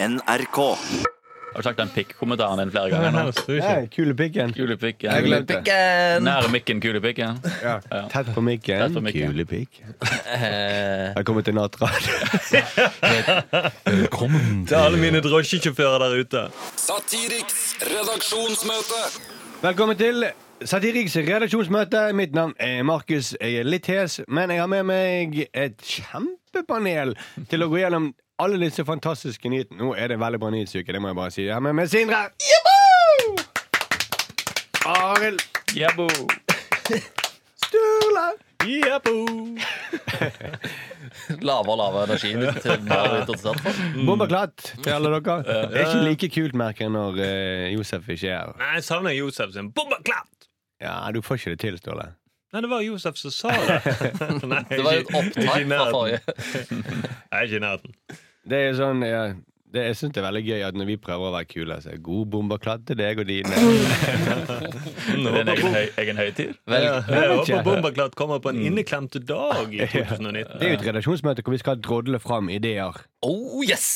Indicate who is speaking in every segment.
Speaker 1: NRK.
Speaker 2: Har du sagt den pikk-kommentaren din flere ganger
Speaker 3: Den
Speaker 2: nå?
Speaker 3: høres du ikke.
Speaker 4: Nei, Kulepikken.
Speaker 2: Kulepikken. Nær mikken, kulepikken.
Speaker 4: Ja. Tett på
Speaker 2: Tett på
Speaker 4: mikken.
Speaker 2: mikken.
Speaker 4: Kulepikk.
Speaker 5: Eh,
Speaker 4: Velkommen til nattradio.
Speaker 3: Velkommen.
Speaker 5: til alle mine drosjesjåfører der ute.
Speaker 6: Satiriks redaksjonsmøte.
Speaker 4: Velkommen til Satiriks redaksjonsmøte. Mitt navn er Markus. Jeg er litt hes, men jeg har med meg et kjempepanel til å gå gjennom alle disse fantastiske nyhetene. Nå er det veldig bra nyhetsuke, det må jeg bare si. Jeg har med meg Sindre. Arild.
Speaker 2: Jabbo.
Speaker 4: Sturle.
Speaker 5: Lavere og lavere energi. litt til mer ut og sånn.
Speaker 2: Mm.
Speaker 4: Bomba klatt til alle dere. Det er ikke like kult, merker jeg, når eh, Josef ikke er her.
Speaker 5: Nei, jeg savner Josef sin bombeklatt!
Speaker 4: Ja, du får ikke det til, Ståle.
Speaker 5: Nei, det var Josef som sa det. Nei, det var jo et opptak fra forrige. Jeg er ikke i nærheten.
Speaker 4: Det er sånn, ja, det, jeg syns det er veldig gøy at når vi prøver å være kule, så er det god bombakladd til deg og dine.
Speaker 2: Er det en egen, høy, egen høytid?
Speaker 5: Vel, jeg håper
Speaker 4: ikke.
Speaker 5: bombeklatt kommer på en inneklemte dag i 2019.
Speaker 4: Det er jo et redaksjonsmøte hvor vi skal drodle fram ideer.
Speaker 5: Oh, yes!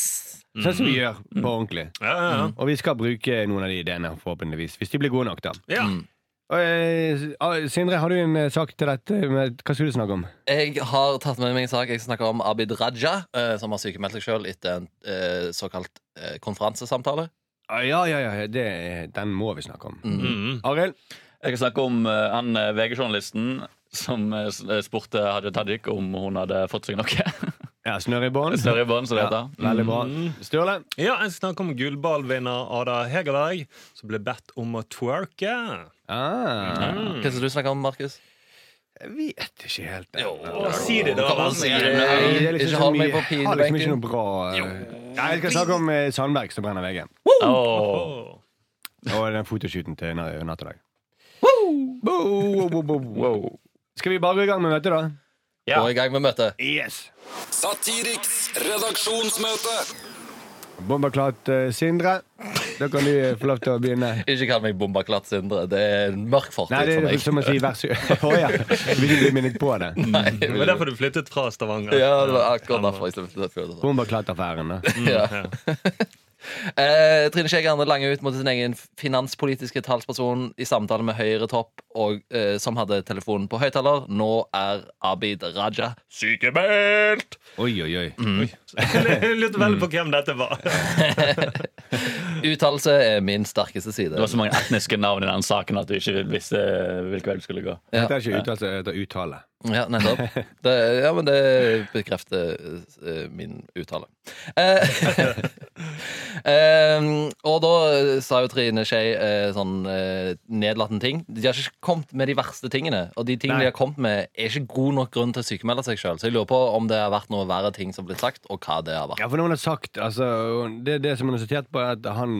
Speaker 4: Sånn som vi gjør på ordentlig.
Speaker 5: Ja, ja, ja.
Speaker 4: Og vi skal bruke noen av de ideene, forhåpentligvis. Hvis de blir gode nok, da.
Speaker 5: ja.
Speaker 4: Og, eh, ah, Sindre, har du en eh, sak til dette? Med, hva skulle du snakke om?
Speaker 7: Jeg har tatt med meg en sak. Jeg snakker om Abid Raja, eh, som har sykemeldt seg sjøl etter en eh, såkalt eh, konferansesamtale.
Speaker 4: Ah, ja, ja, ja. Det, den må vi snakke om.
Speaker 5: Mm.
Speaker 4: Arild?
Speaker 2: Jeg kan snakke om eh, han eh, VG-journalisten som eh, s- eh, spurte Hadia Tajik om hun hadde fått seg noe.
Speaker 4: Ja, snørr i bånn.
Speaker 2: Større barn, som det
Speaker 4: Ja,
Speaker 2: heter.
Speaker 4: veldig bra. Sturle?
Speaker 5: Ja, jeg snakker om gullballvinner Ada Hegerberg, som ble bedt om å twerke.
Speaker 4: Ah,
Speaker 7: Hva skal du snakke om, Markus?
Speaker 4: jeg vet ikke helt.
Speaker 7: Jo,
Speaker 5: Å, si det, da!
Speaker 7: Kom an,
Speaker 5: si
Speaker 7: si
Speaker 5: det.
Speaker 7: det.
Speaker 4: Nei, det er liksom
Speaker 7: eh, Ikke
Speaker 4: så
Speaker 7: hold
Speaker 4: mye-
Speaker 7: meg på
Speaker 4: Har liksom ikke
Speaker 7: pinebenken.
Speaker 4: noe bra eh, Nei, Jeg skal snakke om eh, Sandberg som brenner veggen.
Speaker 2: Åh.
Speaker 5: Åh.
Speaker 4: Og den fotoshooten til na- natt og dag. Wow, wow, wow, wow.
Speaker 2: Wow.
Speaker 4: Skal vi bare gå i gang med møtet, da?
Speaker 2: Ja.
Speaker 7: Gå i gang med møtet.
Speaker 4: Yes!
Speaker 6: Satiriks redaksjonsmøte.
Speaker 4: Bombaklatt eh, Sindre. Da kan du eh, få lov til å begynne.
Speaker 7: Ikke kall meg bombaklatt, Sindre. Det er en mørk fortid
Speaker 4: Nei, det
Speaker 7: for
Speaker 4: er liksom-
Speaker 7: meg.
Speaker 4: som å si vær så god. Å ja. Jeg Vil ikke bli minnet på det.
Speaker 7: Mm.
Speaker 5: Det var derfor du flyttet fra Stavanger.
Speaker 7: Ja, det var akkurat derfor jeg stemte for det.
Speaker 4: Bombaklatt-affæren, da.
Speaker 7: Ja. Eh, Trine Skei Grande lange ut mot sin egen finanspolitiske talsperson i samtale med Høyre-topp, og, eh, som hadde telefonen på høyttaler. Nå er Abid Raja sykemeldt!
Speaker 4: Oi, oi, oi.
Speaker 5: Jeg lurte veldig på hvem dette var.
Speaker 7: Uttalelse er min sterkeste side.
Speaker 2: Det var så mange etniske navn i den saken at du ikke visste eh, hvilken vei du skulle gå.
Speaker 7: Ja.
Speaker 4: Dette er ikke uttale, det heter uttale.
Speaker 7: Ja, nettopp. Det, ja, men det bekrefter eh, min uttale. Eh, em, og da sa jo Trine Skei eh, sånn eh, nedlatende ting. De har ikke kommet med de verste tingene. Og de tingene
Speaker 4: Nei.
Speaker 7: de har kommet med, er ikke god nok grunn til å sykemelde seg sjøl. Så jeg lurer på om det har vært noe verre ting som har blitt sagt, og hva det har vært.
Speaker 4: Ja, for når hun har sagt altså, Det, det som hun har sitert på, er at han,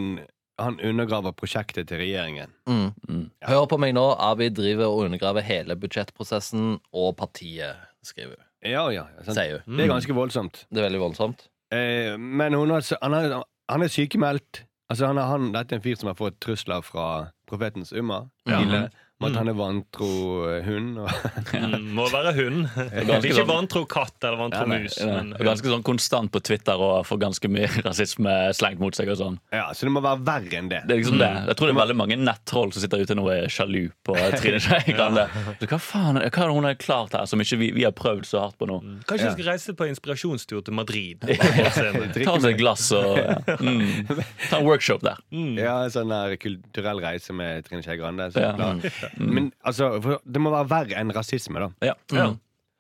Speaker 4: han undergraver prosjektet til regjeringen.
Speaker 7: Mm. Hør på meg nå. Abid driver og undergraver hele budsjettprosessen og partiet, skriver hun.
Speaker 4: Ja, ja. Sant?
Speaker 7: Sier hun.
Speaker 2: Mm.
Speaker 4: Det er ganske voldsomt.
Speaker 7: Det er veldig voldsomt.
Speaker 4: Eh, men hun har, han, er, han er sykemeldt. Altså, han er, han, dette er en fyr som har fått trusler fra profetens umma. tidligere, Om
Speaker 2: Mm.
Speaker 4: at han er vantro eh, hund. Og,
Speaker 5: Mm, Må være hund.
Speaker 2: ganske
Speaker 5: Ikke
Speaker 2: sånn-
Speaker 5: vantro katt eller vantro
Speaker 4: Nei, nei,
Speaker 5: mus.
Speaker 2: Ja.
Speaker 5: men
Speaker 2: Og ganske sånn konstant på Twitter og får ganske mye rasisme slengt mot seg. og sånn
Speaker 4: ja, så det må være verre enn det.
Speaker 2: Det er liksom det Jeg tror det er veldig mange nettroll som sitter ute nå og er sjalu på Trine Skei Grande. Så Hva faen hva er det hun har klart her som ikke vi, vi har prøvd så hardt på nå?
Speaker 5: Kanskje vi skal reise på inspirasjonstur til Madrid. og se henne.
Speaker 2: Ta oss et glass og ja. mm. Ta en workshop der.
Speaker 4: Ja, en sånn der kulturell reise med Trine Skei Grande. så
Speaker 2: Ja. Mm.
Speaker 4: klart. Men altså, for, det må være verre enn rasisme, da.
Speaker 2: Ja.
Speaker 5: Ja.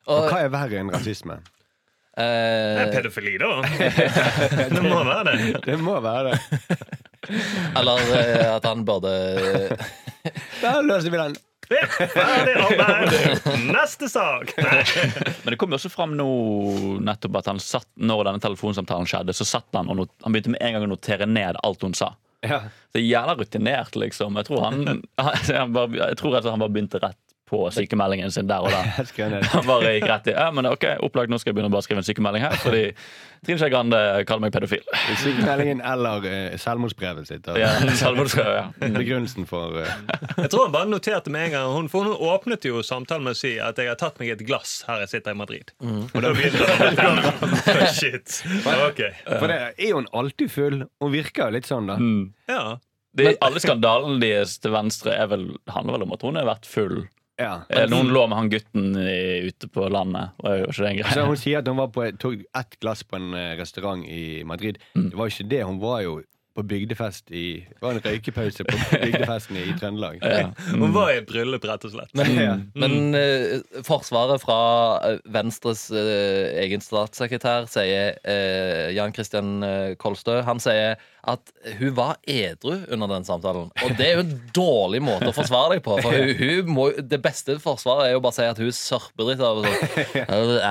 Speaker 4: Og hva er verre enn rasisme?
Speaker 5: Det
Speaker 7: Eh,
Speaker 5: er pedofili, da. Det må være det.
Speaker 4: Det må være det.
Speaker 7: eller eh, at han burde eh,
Speaker 4: Der løser vi den.
Speaker 5: Ja, Ferdig arbeid! Neste sak! Nei.
Speaker 2: Men det kom jo også fram nå nettopp at han satt når denne telefonsamtalen skjedde, så satt han og not han begynte med en gang å notere ned alt hun sa.
Speaker 4: Ja.
Speaker 2: Så jævla rutinert, liksom. Jeg tror han, han, jeg bare, jeg tror altså han bare begynte rett på sykemeldingen sin der og da.
Speaker 4: Skrev ned.
Speaker 2: Han bare gikk rett i ja, men ok, opplagt, nå skal jeg begynne å bare skrive en sykemelding her, fordi Trine Skei Grande kaller meg pedofil.
Speaker 4: Sykemeldingen eller eh, selvmordsbrevet sitt. altså.
Speaker 2: Ja, selvmordsprøve, ja.
Speaker 4: Begrunnelsen for eh,
Speaker 5: Jeg tror han bare noterte med en gang hun, For hun åpnet jo samtalen med å si at jeg har tatt meg et glass her jeg sitter i Madrid. Og da begynte han Shit. Ok.
Speaker 4: For det er jo hun alltid full. Hun virker jo litt sånn,
Speaker 2: Mm.
Speaker 4: da.
Speaker 5: Ja.
Speaker 2: Det, alle skandalene deres til venstre er vel, handler vel om at hun har vært full.
Speaker 4: Ja.
Speaker 2: Eh, Noen lå med han gutten i, ute på landet. Og er jo ikke det en
Speaker 4: Så
Speaker 2: greie.
Speaker 4: Altså, hun sier at hun var på, tok ett glass på en eh, restaurant i Madrid. Det var jo ikke det. Hun var jo på bygdefest i Det var en røykepause på bygdefesten i Trøndelag.
Speaker 2: Ja.
Speaker 5: Hun var i et bryllup, rett og slett.
Speaker 4: Ja.
Speaker 7: Men eh, forsvaret fra eh, Venstres eh, egen statssekretær sier eh, Jan Christian eh, Kolstø Han sier at hun var edru under den samtalen. Og det er jo en dårlig måte å forsvare deg på. For hun, hun må, det beste forsvaret er jo bare å si at hun sørper litt av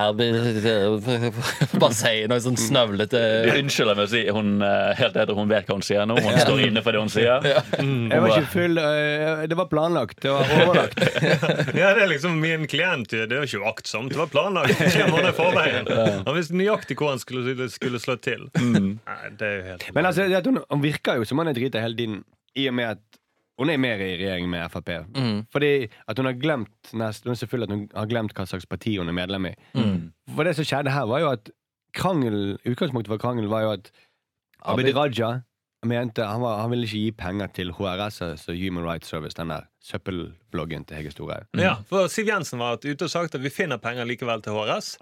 Speaker 7: sånn. Bare si noe sånn snøvlete
Speaker 2: De unnskylder med å si hun eh, helt edru, hun vet hva hun sier nå. Hun står inne for det hun sier.
Speaker 4: Jeg var ikke full. eh, Det var planlagt. Det var overlagt.
Speaker 5: Ja, det er liksom min klient. Det er jo ikke uaktsomt. Det var planlagt tre måneder i forveien. Han visste nøyaktig hvor han skulle, skulle slå til. Nei, det er jo helt
Speaker 4: Mm. Men altså, det at hun, hun virker jo som hun er drita hele tiden, i og med at hun er mer i regjering med Frp.
Speaker 7: Mm,
Speaker 4: Fordi at hun har glemt nest, hun er så full at hun har glemt hva slags parti hun er medlem i.
Speaker 7: mm.
Speaker 4: For det som skjedde her, var jo at krangel, utgangspunktet for krangelen var jo at Abid Raja mente han, var, han ville ikke gi penger til HRS, altså Human Rights Service, den der søppelbloggen til Hege Storhaug.
Speaker 5: Ja, for Siv Jensen var ute og sagt at vi finner penger likevel til HRS.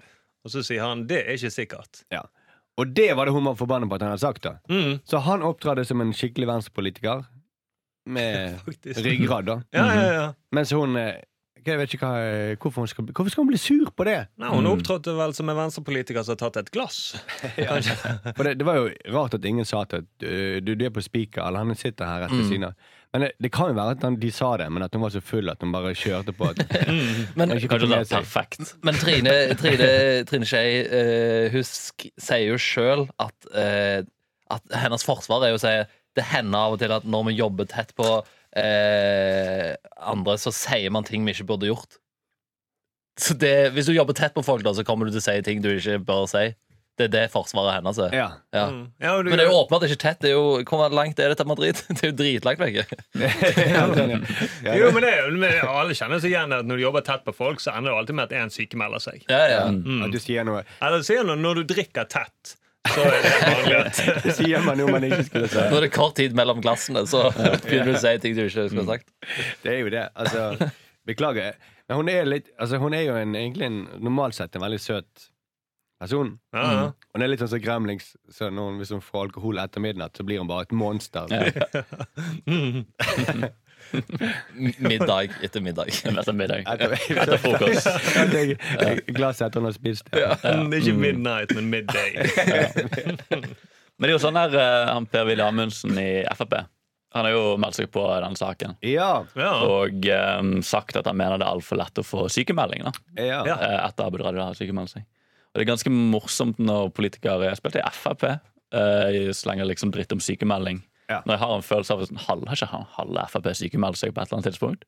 Speaker 5: Og så sier han det er ikke sikkert.
Speaker 4: Ja. Og det var det hun var forbanna på at han hadde sagt, da.
Speaker 5: Mm.
Speaker 4: Så han opptrådte som en skikkelig venstrepolitiker. Med
Speaker 5: Faktisk.
Speaker 4: ryggrad, da.
Speaker 5: Ja, ja, ja.
Speaker 4: Mens hun eh, Jeg vet ikke hva, hvorfor, hun skal, bli- hvorfor skal hun bli sur på det?
Speaker 5: Nei, Hun opptrådte vel som en venstrepolitiker som har tatt et glass. Kanskje.
Speaker 4: For det, det var jo rart at ingen sa til at eh, du, du er på spiker, eller han sitter her rett ved
Speaker 2: Mm.
Speaker 4: siden av. Men det, det kan jo være at han, de sa det, men at hun var så full at hun bare kjørte på. At,
Speaker 7: Men
Speaker 4: ikke fikk
Speaker 2: Kanskje
Speaker 4: det
Speaker 2: det
Speaker 4: med
Speaker 2: er
Speaker 4: seg.
Speaker 2: perfekt.
Speaker 7: Men Trine, Trine, Trine Skei eh, Hun sk sier jo sjøl at, eh, at hennes forsvar er jo å si det hender av og til at når vi jobber tett på eh, andre, så sier man ting vi ikke burde gjort. Så det, Hvis du jobber tett på folk, da, så kommer du til å si ting du ikke bør si. Det er det forsvaret hennes er.
Speaker 4: Ja.
Speaker 7: Ja.
Speaker 5: Mm. Ja, og du-
Speaker 7: Men det er jo åpenbart ikke tett. Det er jo, hvor langt er det til Madrid? Det er jo dritlangt vekke.
Speaker 4: sånn, Ja,
Speaker 5: Jo, men det er jo- men Alle kjenner seg igjen at når du jobber tett på folk, så ender det alltid med at én sykemelder seg.
Speaker 7: Ja, ja.
Speaker 4: At du sier noe
Speaker 5: Eller sier noe når du drikker tett. Så er det vanlig.
Speaker 4: Det sier man noe man ikke skulle si.
Speaker 7: Når det er kort tid mellom glassene, så begynner du å si ting du ikke skulle ha sagt.
Speaker 4: Det er jo det. Altså, beklager. Men hun er, litt, altså, hun er jo en, egentlig en, normalt sett en veldig søt person.
Speaker 5: Ja, ja.
Speaker 4: Hun er litt sånn som Gremlings. Så når hun, hvis hun får alkohol etter midnatt, så blir hun bare et monster.
Speaker 7: M- Middag etter middag.
Speaker 2: Etter middag.
Speaker 4: Etter,
Speaker 2: Etter frokost.
Speaker 4: Etter- Glasset etter hun har spist det.
Speaker 5: Mm, Det er ikke midnight, men midday.
Speaker 2: Men det er jo sånn her eh, han Per-Willy Amundsen i Frp. Han har jo meldt seg på den saken.
Speaker 4: Ja.
Speaker 5: Ja.
Speaker 2: Og eh, sagt at han mener det er altfor lett å få sykemelding da,
Speaker 4: ja.
Speaker 5: Ja.
Speaker 2: eh, etter Abid Raja har sykemeldt seg. Og det er ganske morsomt når politikere spilte i Frp. eh, slenger liksom dritt om sykemelding.
Speaker 4: Ja.
Speaker 2: Når jeg har en følelse av at sånn, halv, Har ikke han halve Frp sykemeldt seg på et eller annet tidspunkt?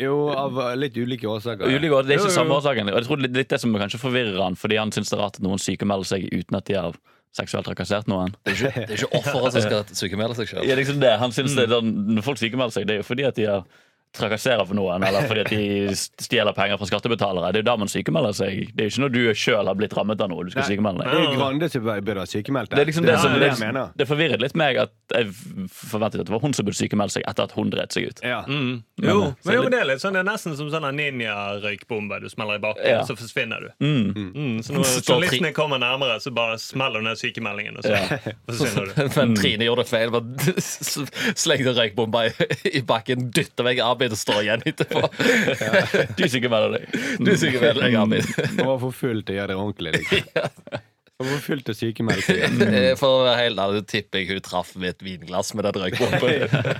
Speaker 4: Jo, av litt ulike årsaker.
Speaker 2: Og Julie Gaard, det er
Speaker 5: Jo,
Speaker 2: ikke
Speaker 5: jo.
Speaker 2: samme årsaken. Og jeg tror det er litt det som kanskje forvirrer han, fordi han syns det er rart at noen sykemelder seg uten at de har seksuelt trakassert noen.
Speaker 7: Det er ikke offeret som skal sykemelde seg sjøl.
Speaker 2: Ja, liksom det. Han synes det er sånn, Når folk sykemelder seg, det er jo fordi at de har trakasserer for noen, eller fordi at de stjeler penger fra skattebetalere. Det er jo da man sykemelder seg. Det er jo ikke når du sjøl har blitt rammet av noe du skal
Speaker 4: Nei.
Speaker 2: sykemelde
Speaker 4: Det
Speaker 2: deg.
Speaker 4: er Grande som bør bør være sykemeldt.
Speaker 2: Det er liksom det som
Speaker 4: det
Speaker 2: det,
Speaker 4: jeg mener.
Speaker 2: det forvirret litt meg at jeg forventet at det var hun som burde sykemelde seg etter at hun dreit seg ut.
Speaker 4: Ja.
Speaker 5: Jo, men jo, men det er litt sånn Det er nesten som sånn en ninja-røykbombe. Du smeller i bakken,
Speaker 2: Ja.
Speaker 5: og så forsvinner du. Mm, så når
Speaker 7: Står tre-
Speaker 5: journalistene kommer nærmere, så bare smeller hun ned sykemeldingen, og så forsvinner du.
Speaker 7: Men Trine gjorde feil. men s- Slengte røykbomba i, i bakken, dytta vekk Abid og står igjen etterpå.
Speaker 2: Du sykemelder deg. Mm,
Speaker 7: Du sykemelder deg, Abid.
Speaker 4: Hun var for full til å gjøre det ordentlig. Liksom. Hun var full til å sykemelde seg.
Speaker 7: Eh, For å være helt ærlig tipper jeg hun traff med et vinglass med den røykbomben.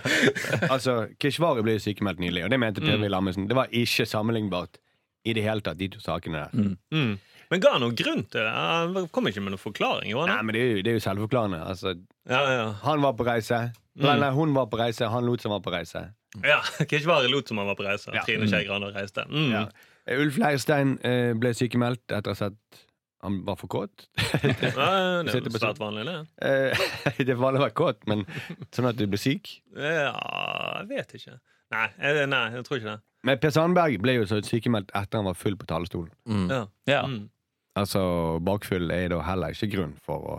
Speaker 4: Altså, Keshvari ble sykemeldt nylig, og det
Speaker 2: Mm.
Speaker 4: mente Per Willy Amundsen. Det var ikke sammenlignbart i det hele tatt, de to sakene der.
Speaker 2: Mm.
Speaker 5: Men ga han noen grunn til det? Han kom ikke med noen forklaring? gjorde
Speaker 4: Nei,
Speaker 5: han?
Speaker 4: men det er jo, det er jo selvforklarende. Altså,
Speaker 5: Ja, ja.
Speaker 2: Mm.
Speaker 4: han var på reise. Nei, nei, hun var på reise, han lot som han var på reise.
Speaker 5: Ja, Keshvari lot som han var på reise.
Speaker 4: Ja.
Speaker 5: Trine Skei Grande reiste. Mm.
Speaker 4: Ja. Eh, Ulf Leirstein eh, ble sykemeldt etter at han var for kåt.
Speaker 5: Ja, det er
Speaker 4: Sitter
Speaker 5: jo
Speaker 4: på
Speaker 5: svært vanlig, det.
Speaker 4: Eh, det var å være kåt, men sånn at du ble syk.
Speaker 5: Ja, jeg vet ikke. Nei, eh, nei, jeg tror ikke det.
Speaker 4: Men Per Sandberg ble jo så sykemeldt etter han var full på talerstolen.
Speaker 5: Ja.
Speaker 2: Ja.
Speaker 5: Mm.
Speaker 4: Altså, bakfull er da heller ikke grunn for å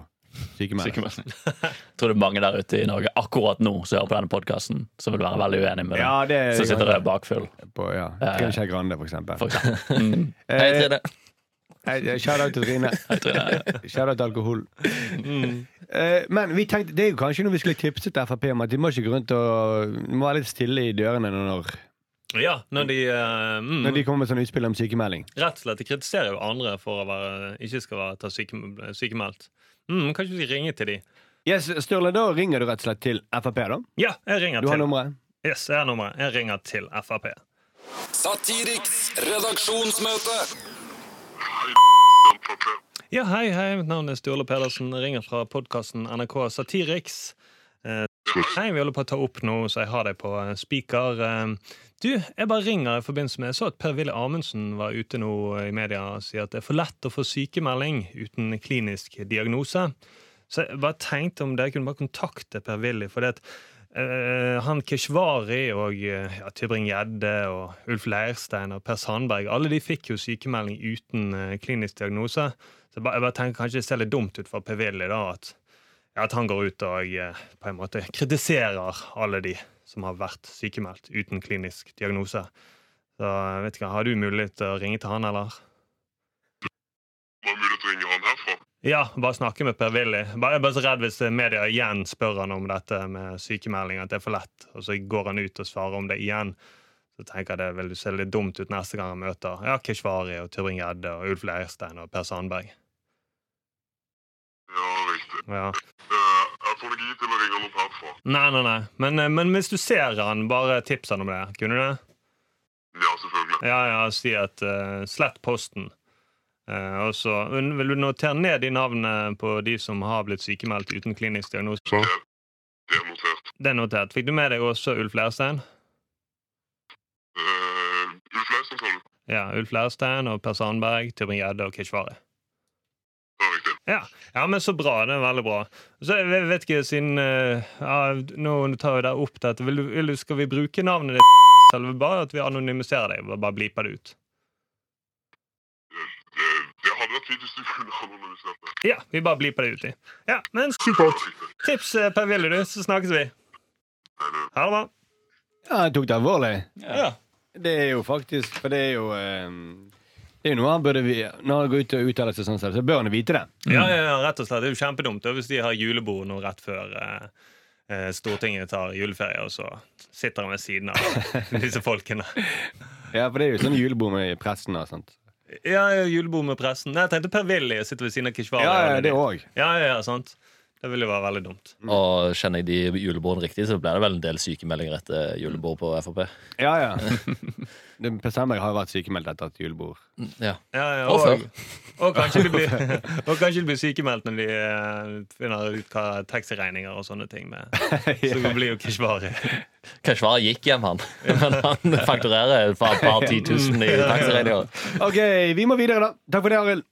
Speaker 4: sykemelde.
Speaker 2: Sykemeldt. Tror det er mange der ute i Norge akkurat nå som hører på denne podkasten, som vil være veldig uenig med det.
Speaker 4: Ja, det
Speaker 2: Som sitter der bakfull.
Speaker 4: På, ja.
Speaker 2: Ja, ja.
Speaker 4: Trine Skei Grande, for eksempel.
Speaker 2: For eksempel. mm.
Speaker 7: Hei, Trine.
Speaker 4: Eh, Shout out til Trine.
Speaker 2: Jeg tror det er-
Speaker 4: Shout out til alkohol.
Speaker 2: Mm.
Speaker 4: Eh, men vi tenkte, det er jo kanskje noe vi skulle tipset til Frp om, at de må ikke gå rundt og de må være litt stille i dørene når,
Speaker 5: ja, når de, eh, mm,
Speaker 4: når de kommer med sånne utspill om sykemelding.
Speaker 5: Rett og slett, De kritiserer jo andre for å være, ikke skal være, ta syke, sykemeldt. Mm, kanskje vi skal ringe til de?
Speaker 4: Yes, Sturle, da ringer du rett og slett til Frp, da.
Speaker 5: Ja, jeg ringer
Speaker 4: Du har
Speaker 5: til
Speaker 4: nummeret?
Speaker 5: Yes, jeg har nummeret. Jeg ringer til Frp.
Speaker 6: Satiriks redaksjonsmøte.
Speaker 5: Ja, hei, hei. Mitt navn er Sturle Pedersen. Jeg ringer fra podkasten NRK Satiriks. Eh, Hei, vi holder på å ta opp nå, så jeg har deg på eh, speaker. Eh, Du, jeg bare ringer i forbindelse med Jeg så at Per-Willy Amundsen var ute nå eh, i media og sier at det er for lett å få sykemelding uten klinisk diagnose. Så jeg bare tenkte om dere kunne bare kontakte Per-Willy, for det at eh, han Keshvari og eh, ja, Tybring-Gjedde og Ulf Leirstein og Per Sandberg, alle de fikk jo sykemelding uten eh, klinisk diagnose. Så jeg bare, jeg bare tenker kanskje det ser litt dumt ut for Per-Willy da, at, ja, at han går ut og eh, på en måte kritiserer alle de som har vært sykemeldt uten klinisk diagnose. Så jeg vet ikke, har du mulighet til å ringe til han, eller?
Speaker 1: Hva er mulig å ringe han herfra?
Speaker 5: Ja, bare snakke med Per-Willy. Bare- Jeg er bare så redd hvis media igjen spør han om dette med sykemelding, at det er for lett, og så går han ut og svarer om det igjen. Så tenker jeg det vil se litt dumt ut neste gang han møter ja, Keshvari og Tybring-Gjedde og Ulf Leirstein og Per Sandberg.
Speaker 1: Ja, riktig.
Speaker 5: Ja.
Speaker 1: Eh, jeg får nok gi til å ringe han opp herfra.
Speaker 5: Nei, nei, nei. Men, eh, men hvis du ser han, bare tips han om det. Kunne du det?
Speaker 1: Ja, selvfølgelig.
Speaker 5: Ja, ja, si at eh, slett posten. Eh, og så un- vil du notere ned de navnene på de som har blitt sykemeldt uten klinisk diagnose.
Speaker 1: Det er notert.
Speaker 5: Det er notert. Fikk du med deg også Ulf Leirstein?
Speaker 1: Uh, Ulf Leisen, sa du?
Speaker 5: Ja, Ulf Leirstein og Per Sandberg, Tybring-Gjedde og Keshvari.
Speaker 1: Ja, riktig.
Speaker 5: Ja. ja, men så bra. Det er veldig bra. Så jeg vet- vet ikke, siden eh, ja, Nå tar jeg deg opp dette. Vil du, vil du, skal vi bruke navnet ditt? Eller bare at vi anonymiserer deg? Bare bliper det ut?
Speaker 1: Det, det hadde vært fint hvis du kunne anonymisert det.
Speaker 5: Ja, vi bare bliper det ut. i. Ja, men
Speaker 1: Ja, riktig.
Speaker 5: tips eh, Per Willy, du, så snakkes vi.
Speaker 1: Nei, det-
Speaker 5: Ha det bra.
Speaker 4: Ja, han tok det alvorlig.
Speaker 5: Ja.
Speaker 4: Det er jo faktisk For det er jo eh, Det er jo noe han burde vi, Når han går ut og uttaler seg sånn, selv, så bør han vite det.
Speaker 5: Ja, ja, ja, rett og slett. Det er jo kjempedumt da, hvis de har julebord nå rett før eh, eh, Stortinget tar juleferie, og så sitter han ved siden av disse folkene.
Speaker 4: Ja, for det er jo sånn julebord med pressen og sånt.
Speaker 5: Ja, ja, julebord med pressen. Nei, jeg tenkte Per-Willy sitter ved siden av Keshvari.
Speaker 4: Ja, ja, det òg.
Speaker 5: Ja, ja, ja, sant. Det ville jo være veldig dumt.
Speaker 3: Og kjenner jeg de julebordene riktig, så blir det vel en del sykemeldinger etter julebord på Frp.
Speaker 4: Ja, ja. Det- Per Sandberg har vært sykemeldt etter et julebord.
Speaker 3: Ja.
Speaker 5: Ja, ja,
Speaker 3: Og
Speaker 5: og, og kanskje de blir, og kanskje de blir sykemeldt når de eh, finner ut hva taxiregninger og sånne ting med. Så det blir jo Keshvari.
Speaker 3: Keshvari gikk hjem, han. Men han fakturerer for et par titusen i taxiregninger.
Speaker 4: OK, vi må videre, da. Takk for det, Arild.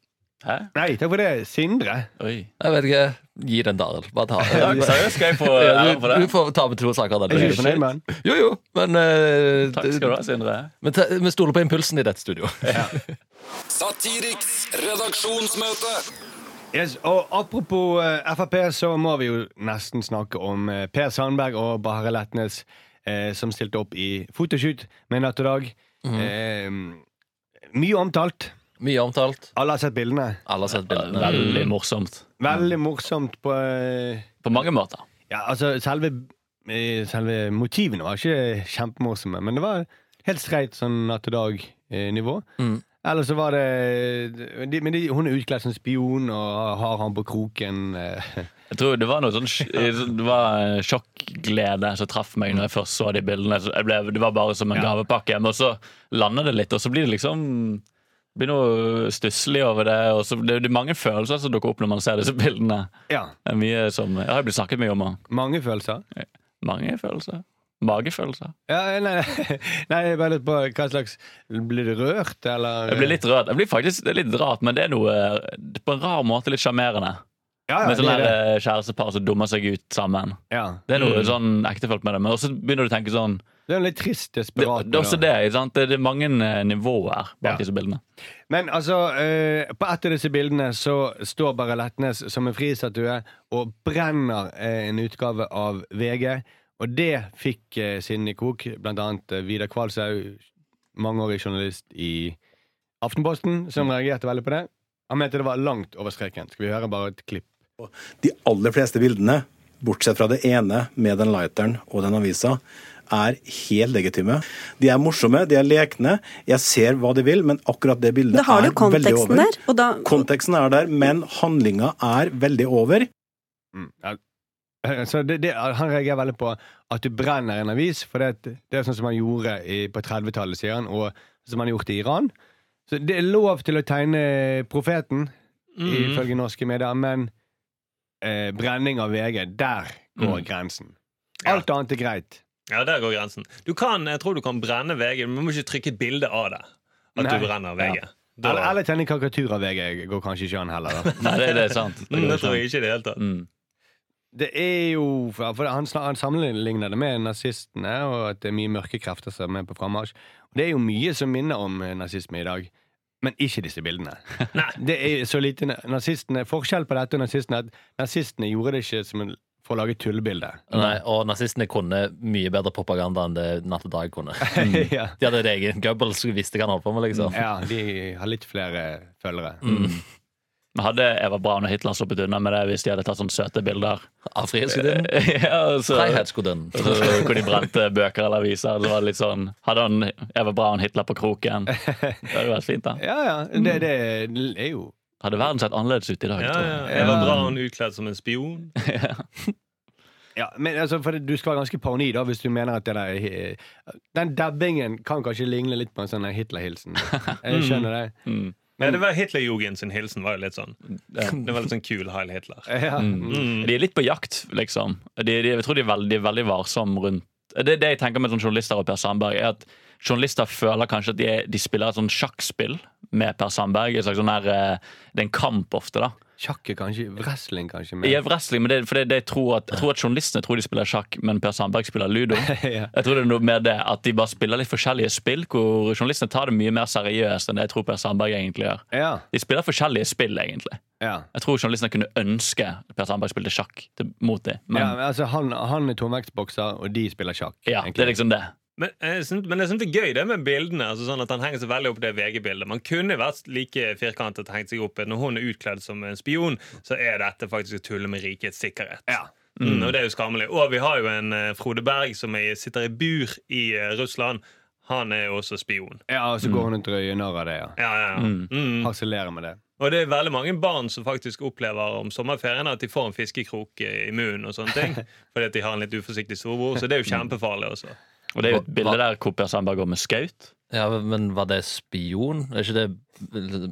Speaker 2: Hæ?
Speaker 4: Nei, takk for det, Sindre.
Speaker 2: Oi.
Speaker 3: Jeg vet ikke. Gi den til Arild. Bare ta den.
Speaker 2: Seriøst, skal jeg få
Speaker 3: Ja,
Speaker 2: æren
Speaker 3: du,
Speaker 2: for
Speaker 3: du
Speaker 2: det?
Speaker 3: får ta med to saker.
Speaker 4: Er ikke du
Speaker 3: Da.
Speaker 4: fornøyd med han?
Speaker 3: Jo, jo, men eh,
Speaker 2: Takk skal du ha, Sindre.
Speaker 3: men ta- Vi stoler på impulsen i dette studio.
Speaker 6: Satiriks redaksjonsmøte.
Speaker 4: Yes, og Apropos eh, Frp, så må vi jo nesten snakke om eh, Per Sandberg og Bahareh Letnes, eh, som stilte opp i fotoshoot med Natt og Dag. Eh, mye omtalt.
Speaker 3: Mye omtalt.
Speaker 4: Alle har sett bildene.
Speaker 3: Alle har sett bildene.
Speaker 2: Veldig morsomt.
Speaker 4: Veldig morsomt på eh,
Speaker 2: På mange måter.
Speaker 4: Ja, altså, selve, eh, selve motivene var ikke kjempemorsomme, men det var helt streit sånn natt og dag-nivå.
Speaker 3: Mm.
Speaker 4: Eller så var det de, Men de, hun er utkledd som spion og har han på kroken. eh.
Speaker 2: Jeg tror Det var noe sånn sj- Det var en sjokkglede som traff meg når jeg først så de bildene. Så Jeg ble, det var bare som en gavepakke hjem, og så lander det litt, og så blir det liksom blir noe stusslig over det. og så det, det er mange følelser som dukker opp når man ser disse bildene.
Speaker 4: Ja.
Speaker 2: Det er mye som, jeg har blitt snakket mye om og
Speaker 4: Mange følelser.
Speaker 2: mange følelser. Magefølelse.
Speaker 4: Ja, nei, nei, jeg bare lurte på hva slags Blir du rørt, eller?
Speaker 2: Jeg blir litt rørt. Jeg blir faktisk det er litt rart, men det er noe eh, på en rar måte litt sjarmerende.
Speaker 4: ja, ja,
Speaker 2: Med sånne
Speaker 4: det er det.
Speaker 2: her, eh, kjærestepar som dummer seg ut sammen.
Speaker 4: ja.
Speaker 2: Det er
Speaker 5: Mm.
Speaker 2: noe sånn ektefølt med det. Men også begynner du å tenke sånn
Speaker 4: Det er jo litt trist,
Speaker 2: Det,
Speaker 4: desperat.
Speaker 2: det er også det. ikke Sant? Det, det er mange eh, nivåer bak
Speaker 4: Ja.
Speaker 2: disse bildene.
Speaker 4: Men altså, eh, på et av disse bildene så står bare Letnes som en fristatue og brenner eh, en utgave av VG. Og det fikk eh, sinnen i kok, blant annet eh, Vidar Kvalshaug, mangeårig journalist i Aftenposten, som reagerte veldig på det. Han mente det var langt over streken. Skal vi høre bare et klipp?
Speaker 8: De aller fleste bildene, bortsett fra det ene med den lighteren og den avisa, er helt legitime. De er morsomme, de er lekne. Jeg ser hva de vil, men akkurat det bildet
Speaker 9: Da har du
Speaker 8: er veldig
Speaker 9: konteksten
Speaker 8: over.
Speaker 9: der, og da
Speaker 8: Konteksten er der, men handlinga er veldig over.
Speaker 4: Mm. Ja. Eh, Så det, det, han reagerer veldig på at du brenner en avis, for det, det er sånn som man gjorde i, på 30-tallet, sier han, og som man har gjort i Iran. Så det er lov til å tegne profeten,
Speaker 5: Mm.
Speaker 4: ifølge norske medier, men eh, brenning av VG, der
Speaker 5: Mm.
Speaker 4: går grensen. Alt annet er greit.
Speaker 5: Ja, der går grensen. Du kan, jeg tror du kan brenne VG, men du må ikke trykke et bilde av det. At
Speaker 4: Nei.
Speaker 5: du brenner VG. Da-
Speaker 4: Eller, eller tegne karikatur av VG går kanskje ikke an heller. Da.
Speaker 2: Nei, det, det er sant.
Speaker 5: Mm, det tror jeg ikke i det hele tatt.
Speaker 2: Mm.
Speaker 4: Det er jo for han, snak- han sammenligner det med nazistene, og at det er mye mørke krefter som er på frammarsj. Og Det er jo mye som minner om eh, nazisme i dag, men ikke disse bildene. Det er så lite na- nazistene Forskjell på dette og nazistene er at nazistene gjorde det ikke som en, for å lage tullebilde.
Speaker 7: Nei, og nazistene kunne mye bedre propaganda enn det Natt og Dag kunne.
Speaker 4: ja.
Speaker 7: De hadde et egen Goebbels visste hva han holdt på med, liksom.
Speaker 4: ja, de har litt flere følgere.
Speaker 2: Men Hadde Eva Braun og Hitler sluppet unna med det hvis de hadde tatt sånne søte bilder?
Speaker 7: Av frihetsgudinnen.
Speaker 2: ja, Eh, altså, så,
Speaker 7: Frihetsgudinnen.
Speaker 2: så, hvor de brente bøker eller aviser. Det var litt sånn, hadde han Eva Braun Hitler på kroken? Det hadde vært fint, da.
Speaker 4: Ja, ja. Det, det er jo
Speaker 2: Hadde verden sett annerledes ut i dag?
Speaker 5: Ja,
Speaker 2: tror
Speaker 5: ja.
Speaker 2: jeg.
Speaker 5: Eva Braun utkledd som en spion.
Speaker 4: Ja, men altså, for Du skal være ganske paranoid da, hvis du mener at det der eh, Den dabbingen kan kanskje ligne litt på en sånn Hitler-hilsen. Jeg skjønner det.
Speaker 5: Nei, det var Hitlerjugend sin hilsen var jo litt sånn. Det var litt sånn kul Heil Hitler.
Speaker 2: Mm.
Speaker 4: Ja. Mm.
Speaker 2: De er litt på jakt, liksom. De, de, jeg tror de er veldig, de er veldig varsomme rundt det, det jeg tenker med sånn journalister og Per Sandberg, er at journalister føler kanskje at de, er, de spiller et sånn sjakkspill med Per Sandberg. Et slags sånn her, eh, det er en kamp ofte, da.
Speaker 4: Sjakk er kanskje Wrestling, kanskje.
Speaker 2: I
Speaker 4: Men,
Speaker 2: wrestling, men det, for det, det jeg, tror at, jeg tror at journalistene tror de spiller sjakk, men Per Sandberg spiller ludo.
Speaker 4: Ja.
Speaker 2: Jeg tror det er noe med det At de bare spiller litt forskjellige spill, hvor journalistene tar det mye mer seriøst enn det jeg tror Per Sandberg egentlig gjør.
Speaker 4: ja,
Speaker 2: De spiller forskjellige spill, egentlig.
Speaker 4: ja.
Speaker 2: Jeg tror journalistene kunne ønske at Per Sandberg spilte sjakk til, mot dem.
Speaker 4: ja,
Speaker 2: Men
Speaker 4: men altså, han, han er tomvektsbokser, og de spiller sjakk.
Speaker 2: ja,
Speaker 4: egentlig.
Speaker 2: det er liksom det.
Speaker 5: Men eh, jeg syns, men jeg syns det er gøy det med bildene. Altså sånn at Han henger seg veldig opp i det VG-bildet. Man kunne vært like firkantet hengt seg opp i Når hun er utkledd som en spion, så er dette faktisk å tulle med rikets sikkerhet. Mm, og det er jo skammelig. Og vi har jo en eh, Frode Berg som er, sitter i bur i eh, Russland. Han er jo også spion.
Speaker 4: ja, og
Speaker 2: Mm.
Speaker 4: så går hun og drøyer narr av det. ja.
Speaker 5: Ja, ja, ja. Mm.
Speaker 4: Harselerer med det.
Speaker 5: Og det er veldig mange barn som faktisk opplever om sommerferien at de får en fiskekrok eh, i munnen og sånne ting. Fordi at de har en litt uforsiktig storebror. Så det er jo kjempefarlig også.
Speaker 2: Og det er jo et bilde der hvor Per Sandberg går med skaut.
Speaker 7: Ja, Men var det spion? Er ikke det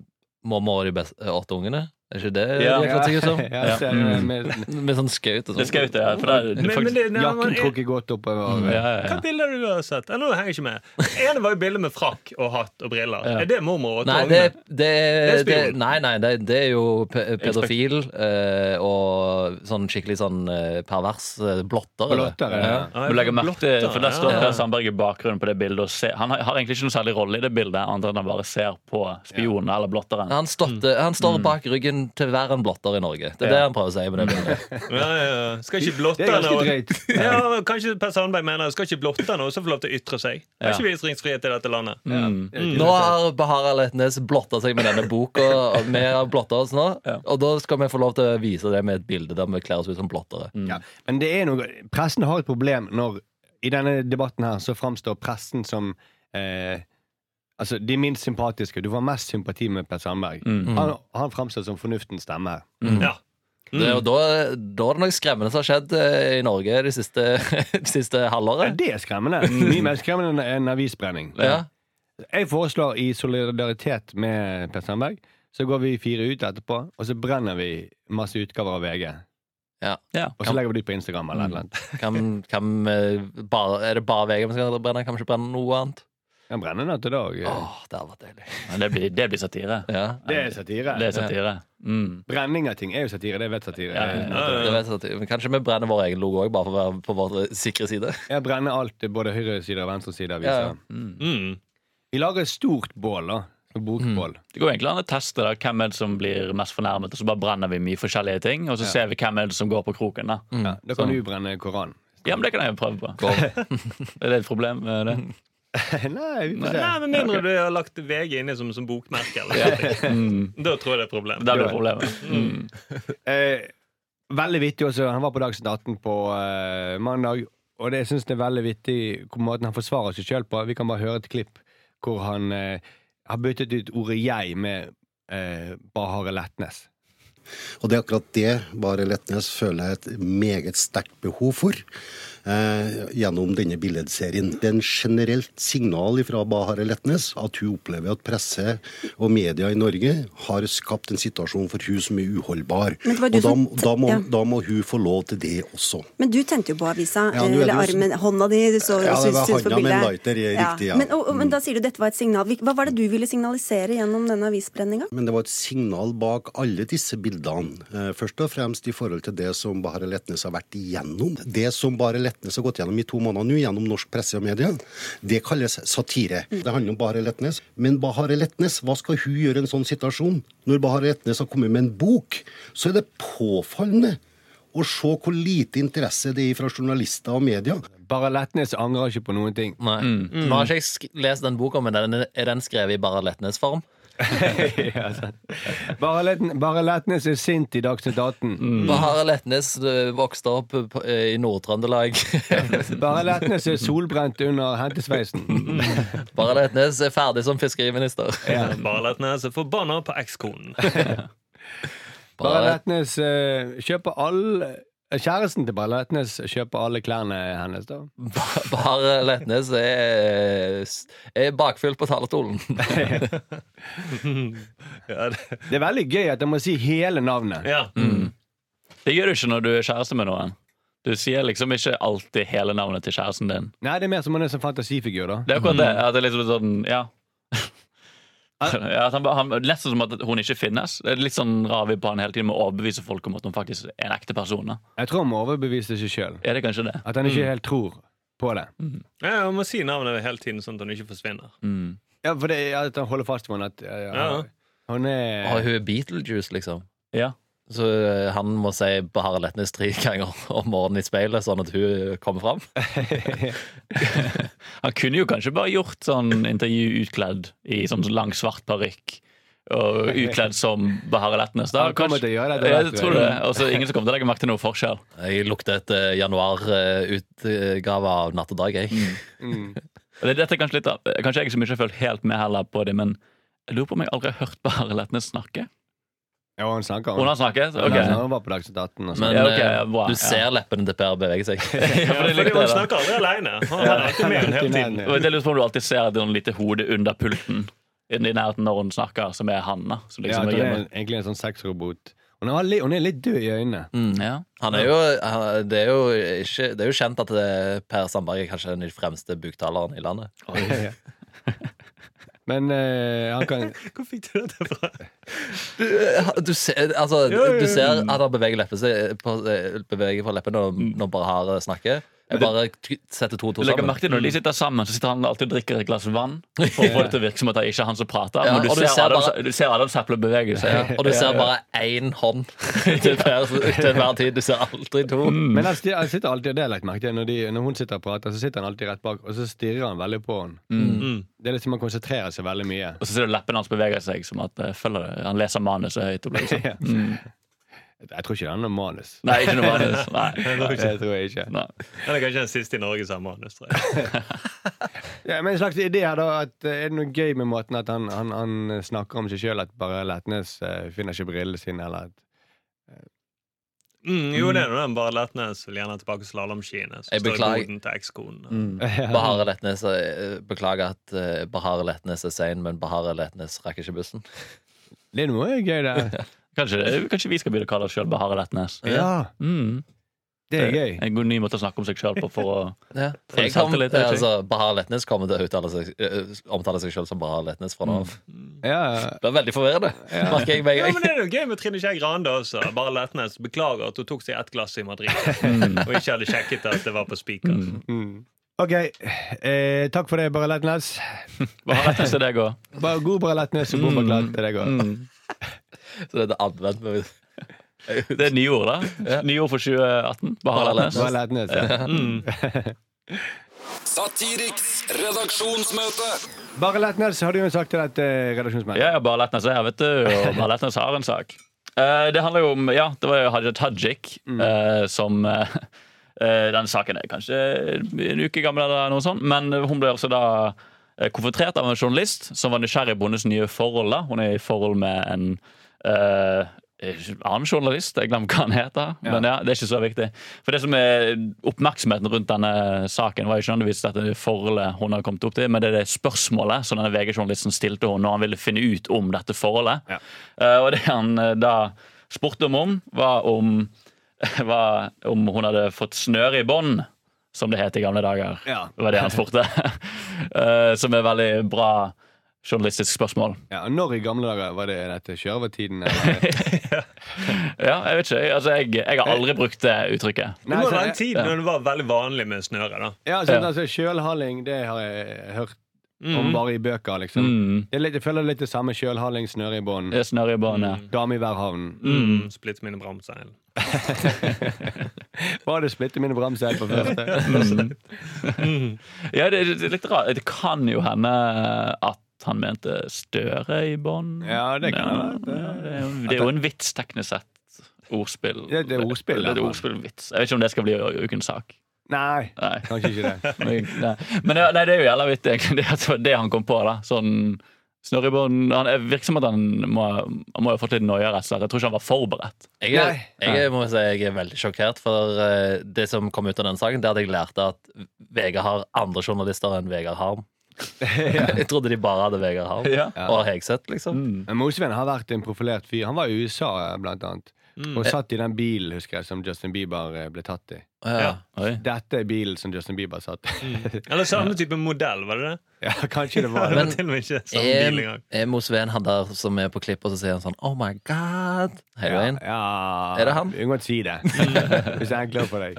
Speaker 7: mamma og de best, åtte ungene? Er ikke det
Speaker 2: Ja. Mm.
Speaker 7: de har kledd seg ut som?
Speaker 4: Ja, jeg ser det med,
Speaker 7: Med sånn skaut og
Speaker 2: Det er
Speaker 7: sånn.
Speaker 2: skaut, ja. For det er, du
Speaker 5: Men, men
Speaker 2: faktisk,
Speaker 5: det, nei, man
Speaker 4: jakken
Speaker 5: er-
Speaker 4: trukket godt oppover.
Speaker 2: Mm.
Speaker 4: eh,
Speaker 2: ja, ja, ja.
Speaker 5: Hvilke bilder du har sett? Jeg, nå henger jeg ikke med. Det ene var jo bilde med frakk og hatt og briller. Er det mormor og
Speaker 7: Nei,
Speaker 5: Togne?
Speaker 7: det, det,
Speaker 5: er
Speaker 7: det,
Speaker 5: spion.
Speaker 7: nei, nei det, det er jo pe pedofil eh, og sånn skikkelig sånn eh, pervers eh, blotter. eller?
Speaker 4: Blottere, ja.
Speaker 5: Ah,
Speaker 2: Du legger merke til,
Speaker 5: blotter,
Speaker 2: for Der står
Speaker 5: ja.
Speaker 2: Per Sandberg i bakgrunnen på det bildet. Og ser, han har, har egentlig ikke noen særlig rolle i det bildet, annet enn at han bare ser på spionen eller blotteren.
Speaker 7: Han, ståtte, han står bak ryggen til hver en blotter i Norge. Det er det han prøver å si med det bildet.
Speaker 5: Ja, ja, ja. Skal ikke
Speaker 4: Det er
Speaker 5: blotterne
Speaker 4: ganske
Speaker 5: og-
Speaker 4: drøyt.
Speaker 5: ja, men Kanskje Per Sandberg mener skal ikke blotterne også få lov til å ytre seg? Har ikke vi ytringsfrihet i dette landet?
Speaker 2: Mm.
Speaker 7: Nå har Bahar Letnes blotta seg med denne boka, og vi har blotta oss nå. Og da skal vi få lov til å vise det med et bilde der vi kler oss ut som blottere.
Speaker 4: Ja. Mm. Men det er noe Pressen har et problem når I denne debatten her så framstår pressen som eh, Altså de minst sympatiske. Du får mest sympati med Per Sandberg. Han, han framstår som fornuftens stemme her.
Speaker 5: Ja.
Speaker 7: Det, og da, da er det noe skremmende som har skjedd eh, i Norge de siste, de siste
Speaker 4: Ja,
Speaker 7: halvåret.
Speaker 4: det er skremmende. Mye mer skremmende enn avisbrenning.
Speaker 7: Ja.
Speaker 4: Jeg foreslår i solidaritet med Per Sandberg, så går vi fire ut etterpå, og så brenner vi masse utgaver av VG.
Speaker 7: Ja.
Speaker 2: Ja.
Speaker 4: Og så legger vi det ut på Instagram eller noe. annet.
Speaker 7: Kan, kan, eh, bare, er det bare vegan man skal brenne? Kan man ikke brenne noe annet?
Speaker 4: Den brenner natt og dag.
Speaker 7: Åh, det hadde vært deilig.
Speaker 2: Men det blir, det blir satire.
Speaker 7: Ja.
Speaker 4: Det er satire.
Speaker 2: Det er satire. Mm.
Speaker 4: Brenning av ting er jo satire. Det vet satire.
Speaker 2: Ja, ja,
Speaker 4: Eh,
Speaker 7: Det vet jeg, at- men kanskje vi brenner vår egen logo òg, bare for å være på vår sikre side.
Speaker 4: Jeg brenner alt, både høyre side og venstre side av avisa.
Speaker 7: Ja, ja.
Speaker 5: Mm.
Speaker 4: Vi lager et stort bål, da. Et Bokbål.
Speaker 7: Mm.
Speaker 2: Det går egentlig an å teste da, hvem er det som blir mest fornærmet, og så bare brenner vi mye forskjellige ting, og så ser vi hvem er det som går på kroken. da.
Speaker 7: Mm.
Speaker 4: Ja, da kan
Speaker 7: Sånn.
Speaker 4: du brenne Koranen.
Speaker 2: Ja, men det kan jeg jo prøve på. er det et problem? eh, det?
Speaker 4: Nei, vi får se.
Speaker 5: Nei, Med mindre du har lagt VG inni som, som bokmerke. Eller, noe.
Speaker 2: Mm.
Speaker 5: Da tror jeg det er et problem.
Speaker 2: Der blir problemet. Mm.
Speaker 4: Eh, veldig vittig også. Han var på Dagsnytt 18 på eh, mandag. Og det jeg synes det er veldig vittig hvor måten han forsvarer seg sjøl på. Vi kan bare høre et klipp hvor han eh, har byttet ut ordet 'jeg' med eh, Bahare Letnes.
Speaker 8: Og det er akkurat det Bare Letnes føler jeg et meget sterkt behov for eh, gjennom denne billedserien. Det er en generelt signal fra Bahare Letnes at hun opplever at presse og media i Norge har skapt en situasjon for hun som er uholdbar.
Speaker 9: Men det var
Speaker 8: Og
Speaker 9: du
Speaker 8: da,
Speaker 9: som-
Speaker 8: da, må,
Speaker 9: ja.
Speaker 8: da må hun få lov til det også.
Speaker 9: Men du tente jo på avisa.
Speaker 8: Ja, nå er det
Speaker 9: eller
Speaker 8: jo
Speaker 9: armen, hånda di. Du så,
Speaker 8: Ja, det
Speaker 9: syns-
Speaker 8: var
Speaker 9: syns på
Speaker 8: hånda med en
Speaker 9: bildet.
Speaker 8: lighter, ja, riktig, ja. Mm.
Speaker 9: Men, og, og, men da sier du dette var et signal. Hva var det du ville signalisere gjennom denne avisbrenninga?
Speaker 8: Men det var et signal bak alle disse bildene. eh, Først og fremst i forhold til det som Bare Letnes har vært igjennom. Det som Bare Letnes har gått gjennom i to måneder nå, gjennom norsk presse og media, det kalles satire. Det handler om Bare Letnes. Men Bahare Letnes, hva skal hun gjøre i en sånn situasjon? Når Bahare Letnes har kommet med en bok, så er det påfallende å se hvor lite interesse det er fra journalister og media.
Speaker 4: Bahare Letnes angrer ikke på noen ting.
Speaker 7: Nei. Nå har ikke jeg sk lest den boka, men den, er den skrevet i bare Letnes-form?
Speaker 4: ja, sant. Bahare Letn- Bahare Letnes er sint i Dagsnytt 18.
Speaker 7: Bare Letnes eh, vokste opp eh, på- eh, i Nord-Trøndelag.
Speaker 4: Bahare Letnes er solbrent under
Speaker 7: Mm.
Speaker 4: hentesveisen.
Speaker 7: Bare Letnes er ferdig som fiskeriminister.
Speaker 5: Bare Letnes er forbanna på ekskonen.
Speaker 4: Bahare
Speaker 7: Bare,
Speaker 4: Letnes eh, kjøper alle Kjæresten til Bahare Letnes kjøper alle klærne hennes, da.
Speaker 7: bare Letnes er, er bakfylt på talerstolen.
Speaker 5: Ja, det,
Speaker 4: Det er veldig gøy at jeg må si hele navnet.
Speaker 5: ja.
Speaker 2: Det gjør du ikke når du er kjæreste med noen. Du sier liksom ikke alltid hele navnet til kjæresten din.
Speaker 4: Nei, det er mer som han er som fantasifigur, da.
Speaker 2: Det er akkurat det.
Speaker 4: Mm.
Speaker 2: At det er liksom sånn, ja. ja at han, bare- han, nesten som at hun ikke finnes. Det er litt sånn rar vi på han hele tiden med å overbevise folk om at hun faktisk er en ekte person. da.
Speaker 4: Jeg tror han må overbevise seg sjøl.
Speaker 2: Er det kanskje det?
Speaker 4: At han ikke helt tror på det.
Speaker 5: Ja, Jeg må si navnet hele tiden, sånn at han ikke forsvinner.
Speaker 2: Mm.
Speaker 4: Ja, for det er at han holder fast på han at ja, ja.
Speaker 5: Ja.
Speaker 4: Han
Speaker 7: Og
Speaker 4: er
Speaker 7: hun er Beetlejuice, liksom.
Speaker 2: Ja.
Speaker 7: Så eh, han må si Bahare Letnes tre ganger om morgenen i speilet, sånn at hun kommer fram.
Speaker 2: Han kunne jo kanskje bare gjort sånn intervju utkledd i sånn lang, svart parykk. Og utkledd som Bahareh Letnes. da.
Speaker 4: Han kommer
Speaker 2: Kanskje-
Speaker 4: til å gjøre det, det
Speaker 2: Ja,
Speaker 4: vet
Speaker 2: jeg
Speaker 4: du.
Speaker 2: tror det. Og så ingen som kommer til å legge merke til noe forskjell.
Speaker 7: Jeg lukter et eh, januar-utgave av Natt og dag, jeg.
Speaker 2: Mm.
Speaker 4: Mm.
Speaker 2: Og det er dette kanskje litt av, Kanskje jeg som ikke har følt helt med heller på det, men jeg lurer på om jeg aldri har hørt Bahareh Letnes snakke.
Speaker 4: Ja, han snakker
Speaker 2: Hun
Speaker 4: om
Speaker 2: har snakket?
Speaker 4: Han
Speaker 2: Ok.
Speaker 4: har- Han var på Dagsnytt 18. Og sånn.
Speaker 7: Men
Speaker 2: Ja, ok,
Speaker 7: eh,
Speaker 2: bra,
Speaker 7: du
Speaker 2: ja.
Speaker 7: ser leppene til Per bevege seg.
Speaker 2: Ja, for det
Speaker 5: Fordi
Speaker 2: likte
Speaker 5: hun
Speaker 2: jeg da.
Speaker 5: snakker aldri aleine. Han er alltid med henne hele tiden.
Speaker 2: Og Jeg lurer på om du alltid ser det noen lite hode under pulten i nærheten når hun snakker, som er Hanna. Som
Speaker 4: ja,
Speaker 2: liksom
Speaker 4: at hun
Speaker 2: er
Speaker 4: er
Speaker 2: hjemme.
Speaker 4: egentlig en sånn sexrobot. Hun er, litt, hun er litt død i øynene.
Speaker 2: Mm, ja.
Speaker 7: Han er jo, han, det, er jo ikke, det er jo kjent at eh, Per Sandberg er kanskje den fremste buktaleren i landet.
Speaker 4: Ja. Men eh, han kan
Speaker 5: Hvor fikk du dette fra?
Speaker 7: Du, eh, du, ser, altså, du ser at han beveger, leppe, seg på, eh, beveger på leppene når,
Speaker 2: Mm.
Speaker 7: når bare har snakker. Jeg bare t- setter to og to
Speaker 2: Legger
Speaker 7: sammen.
Speaker 2: merke til Når de sitter sammen, så sitter han alltid og drikker et glass vann. For å få det til å virke som at det er ikke er han som prater.
Speaker 7: Ja,
Speaker 2: men du,
Speaker 7: og du
Speaker 2: ser
Speaker 7: ser
Speaker 2: Adam,
Speaker 7: bare-
Speaker 2: du ser Adam Zapple bevege
Speaker 7: Ja,
Speaker 2: seg.
Speaker 7: og du ser bare én hånd til Per til enhver tid. Du ser aldri to.
Speaker 5: Mm,
Speaker 4: Men han, sti- han sitter alltid, det har jeg lagt merke til, når, de, når hun sitter og prater, så sitter han alltid rett bak, og så stirrer han veldig på henne. Det er liksom Han konsentrerer seg veldig mye.
Speaker 2: Og så ser du leppene hans bevege seg, som at eh, følger det. han leser manuset høyt. Og blir sånn.
Speaker 4: Ja. Jeg tror ikke det er noe manus.
Speaker 2: Nei, ikke noe manus. Nei.
Speaker 4: Det tror jeg ikke.
Speaker 2: Nei.
Speaker 5: Eller kanskje den siste i Norge sammen med Anders. tror jeg.
Speaker 4: Ja, men en slags idé her da at, eh, Er det noe gøy med måten at han, han, han snakker om seg sjøl, at bare Letnes eh, finner ikke brillene sine, eller at
Speaker 5: Mm, jo, det er nå den bare Letnes vil gjerne tilbake slalåmskiene. Som
Speaker 7: Jeg
Speaker 5: står i
Speaker 7: beklager.
Speaker 5: boden til ekskonen.
Speaker 4: Mm.
Speaker 7: Bahare Letnes eh, Beklager at eh, Bahare Letnes er sein, men Bahare Letnes rakk ikke bussen.
Speaker 4: Det er noe gøy der.
Speaker 2: Kanskje, kanskje vi skal begynne å kalle oss sjøl Bahare Letnes.
Speaker 4: Ja,
Speaker 2: Mm.
Speaker 4: det er gøy.
Speaker 2: En god ny måte å snakke om seg sjøl på for å
Speaker 7: Ja.
Speaker 2: For
Speaker 7: Jeg
Speaker 2: eksempel
Speaker 7: kom,
Speaker 2: litt, jeg
Speaker 7: altså, Bahar Letnes kommer til å uttale seg, eh, omtale seg selv som Bahar Letnes fra nå av.
Speaker 4: Ja, ja.
Speaker 7: Det er veldig forvirrende, merker jeg med
Speaker 5: Mm. Ja,
Speaker 7: en
Speaker 5: men
Speaker 7: gang.
Speaker 5: Det er jo gøy med Trine Skei Grande også. Bare Letnes beklager at hun tok seg ett glass i Madrid
Speaker 2: Mm.
Speaker 5: og ikke hadde sjekket at det var på spiker.
Speaker 4: Mm. OK. Eh, takk for det, Bare Letnes.
Speaker 2: Bahare Letnes til deg òg.
Speaker 4: Bare god Bare Letnes og god Baglat til deg òg.
Speaker 7: Så det er advent med
Speaker 2: Det er nye ord, da. Nye ord for 2018. Bahare
Speaker 7: Bahare
Speaker 2: Letnes.
Speaker 4: Bare Letnes. Mm. Ja.
Speaker 6: Satiriks redaksjonsmøte.
Speaker 4: Bare Letnes hadde jo en sak til dette eh, redaksjonsmennene.
Speaker 2: Ja, ja, bare Letnes er her, vet du. Og bare Letnes har en sak. Eh, det handler jo om Ja, det var jo Hadia Tajik
Speaker 4: Mm.
Speaker 2: eh, som eh, eh, Den saken er kanskje en uke gammel, eller noe sånt. Men hun ble altså da eh, konfrontert av en journalist som var nysgjerrig på hennes nye forhold. da Hun er i forhold med en eh, annen journalist. Jeg glemmer hva han heter. Men ja, det er ikke så viktig. For det som er oppmerksomheten rundt denne saken, var jo ikke nødvendigvis dette forholdet hun har kommet opp til, men det er det spørsmålet som denne VG-journalisten stilte henne når han ville finne ut om dette forholdet. Eh, og det han eh, da spurte om, om var om, var om hun hadde fått snøre i bånd. Som det het i gamle dager.
Speaker 4: Ja.
Speaker 2: Det var det han spurte. Eh, som er veldig bra journalistisk spørsmål.
Speaker 4: Ja, og når i gamle dager var det dette? Sjørøvertiden? eller?
Speaker 2: Ja, jeg vet ikke. Altså, jeg, jeg har aldri brukt det uttrykket.
Speaker 5: Det
Speaker 4: Nei,
Speaker 5: må
Speaker 4: så-
Speaker 5: være en tid når det var veldig vanlig med snøre. da
Speaker 4: Ja, sånn,
Speaker 2: Ja. Mm.
Speaker 4: altså Kjølhaling, det har jeg hørt om bare i bøker, liksom. Det er litt, jeg føler det er litt det samme. Kjølhaling, snøre i bånd,
Speaker 2: Det er snørr i båndet.
Speaker 4: dame i hver havn.
Speaker 5: mm. Splitt mine bramseil.
Speaker 4: Bare det splitter mine bramseil på første.
Speaker 2: Ja, det, det er litt rart. Det kan jo hende at han mente Støre i bånd.
Speaker 4: Ja, det kan
Speaker 2: Ja,
Speaker 4: hende.
Speaker 2: det, er jo- det er jo en vits, teknisk sett. Ordspill.
Speaker 4: Det- det er ordspill,
Speaker 2: Det er
Speaker 4: ja.
Speaker 2: ordspillvits. Jeg vet ikke om det skal bli ukens sak.
Speaker 4: Nei,
Speaker 2: Nei.
Speaker 4: kanskje ikke det.
Speaker 2: Men, nei. Men ja, nei, det er jo jævla vittig, egentlig. Det, at det var det han kom på. da Sånn Snorre i bånd Han det virker som at han må, han må ha fått litt noia, rett og slett. Jeg tror ikke han var forberedt.
Speaker 7: Jeg, er, jeg, er- må si, jeg er veldig sjokkert, for eh, det som kom ut av den saken, det hadde jeg lært at Vegard har andre journalister enn Vegard Harm. Jeg trodde de bare hadde Vegard Harm
Speaker 2: Ja. Mm.
Speaker 7: og Hegseth, liksom.
Speaker 4: Men Mosveen har vært en profilert fyr. Han var i USA, blant annet.
Speaker 2: Mm.
Speaker 4: Og satt i den bilen husker jeg, som Justin Bieber eh, ble tatt i.
Speaker 7: Ja.
Speaker 2: Oi.
Speaker 4: Dette er bilen som Justin Bieber satt i.
Speaker 2: Mm.
Speaker 5: Eller samme type modell, var det det?
Speaker 4: ja, kanskje det
Speaker 5: Ja,
Speaker 4: var
Speaker 5: det
Speaker 4: det.
Speaker 5: var til og med ikke samme bil
Speaker 7: Er,
Speaker 5: engang.
Speaker 7: er Mo Sveen han der som er på klippet, og så sier han sånn Oh my God! Hele veien.
Speaker 4: Ja,
Speaker 7: Er det han?
Speaker 4: Du kan godt si det. Hvis det er enklere for deg.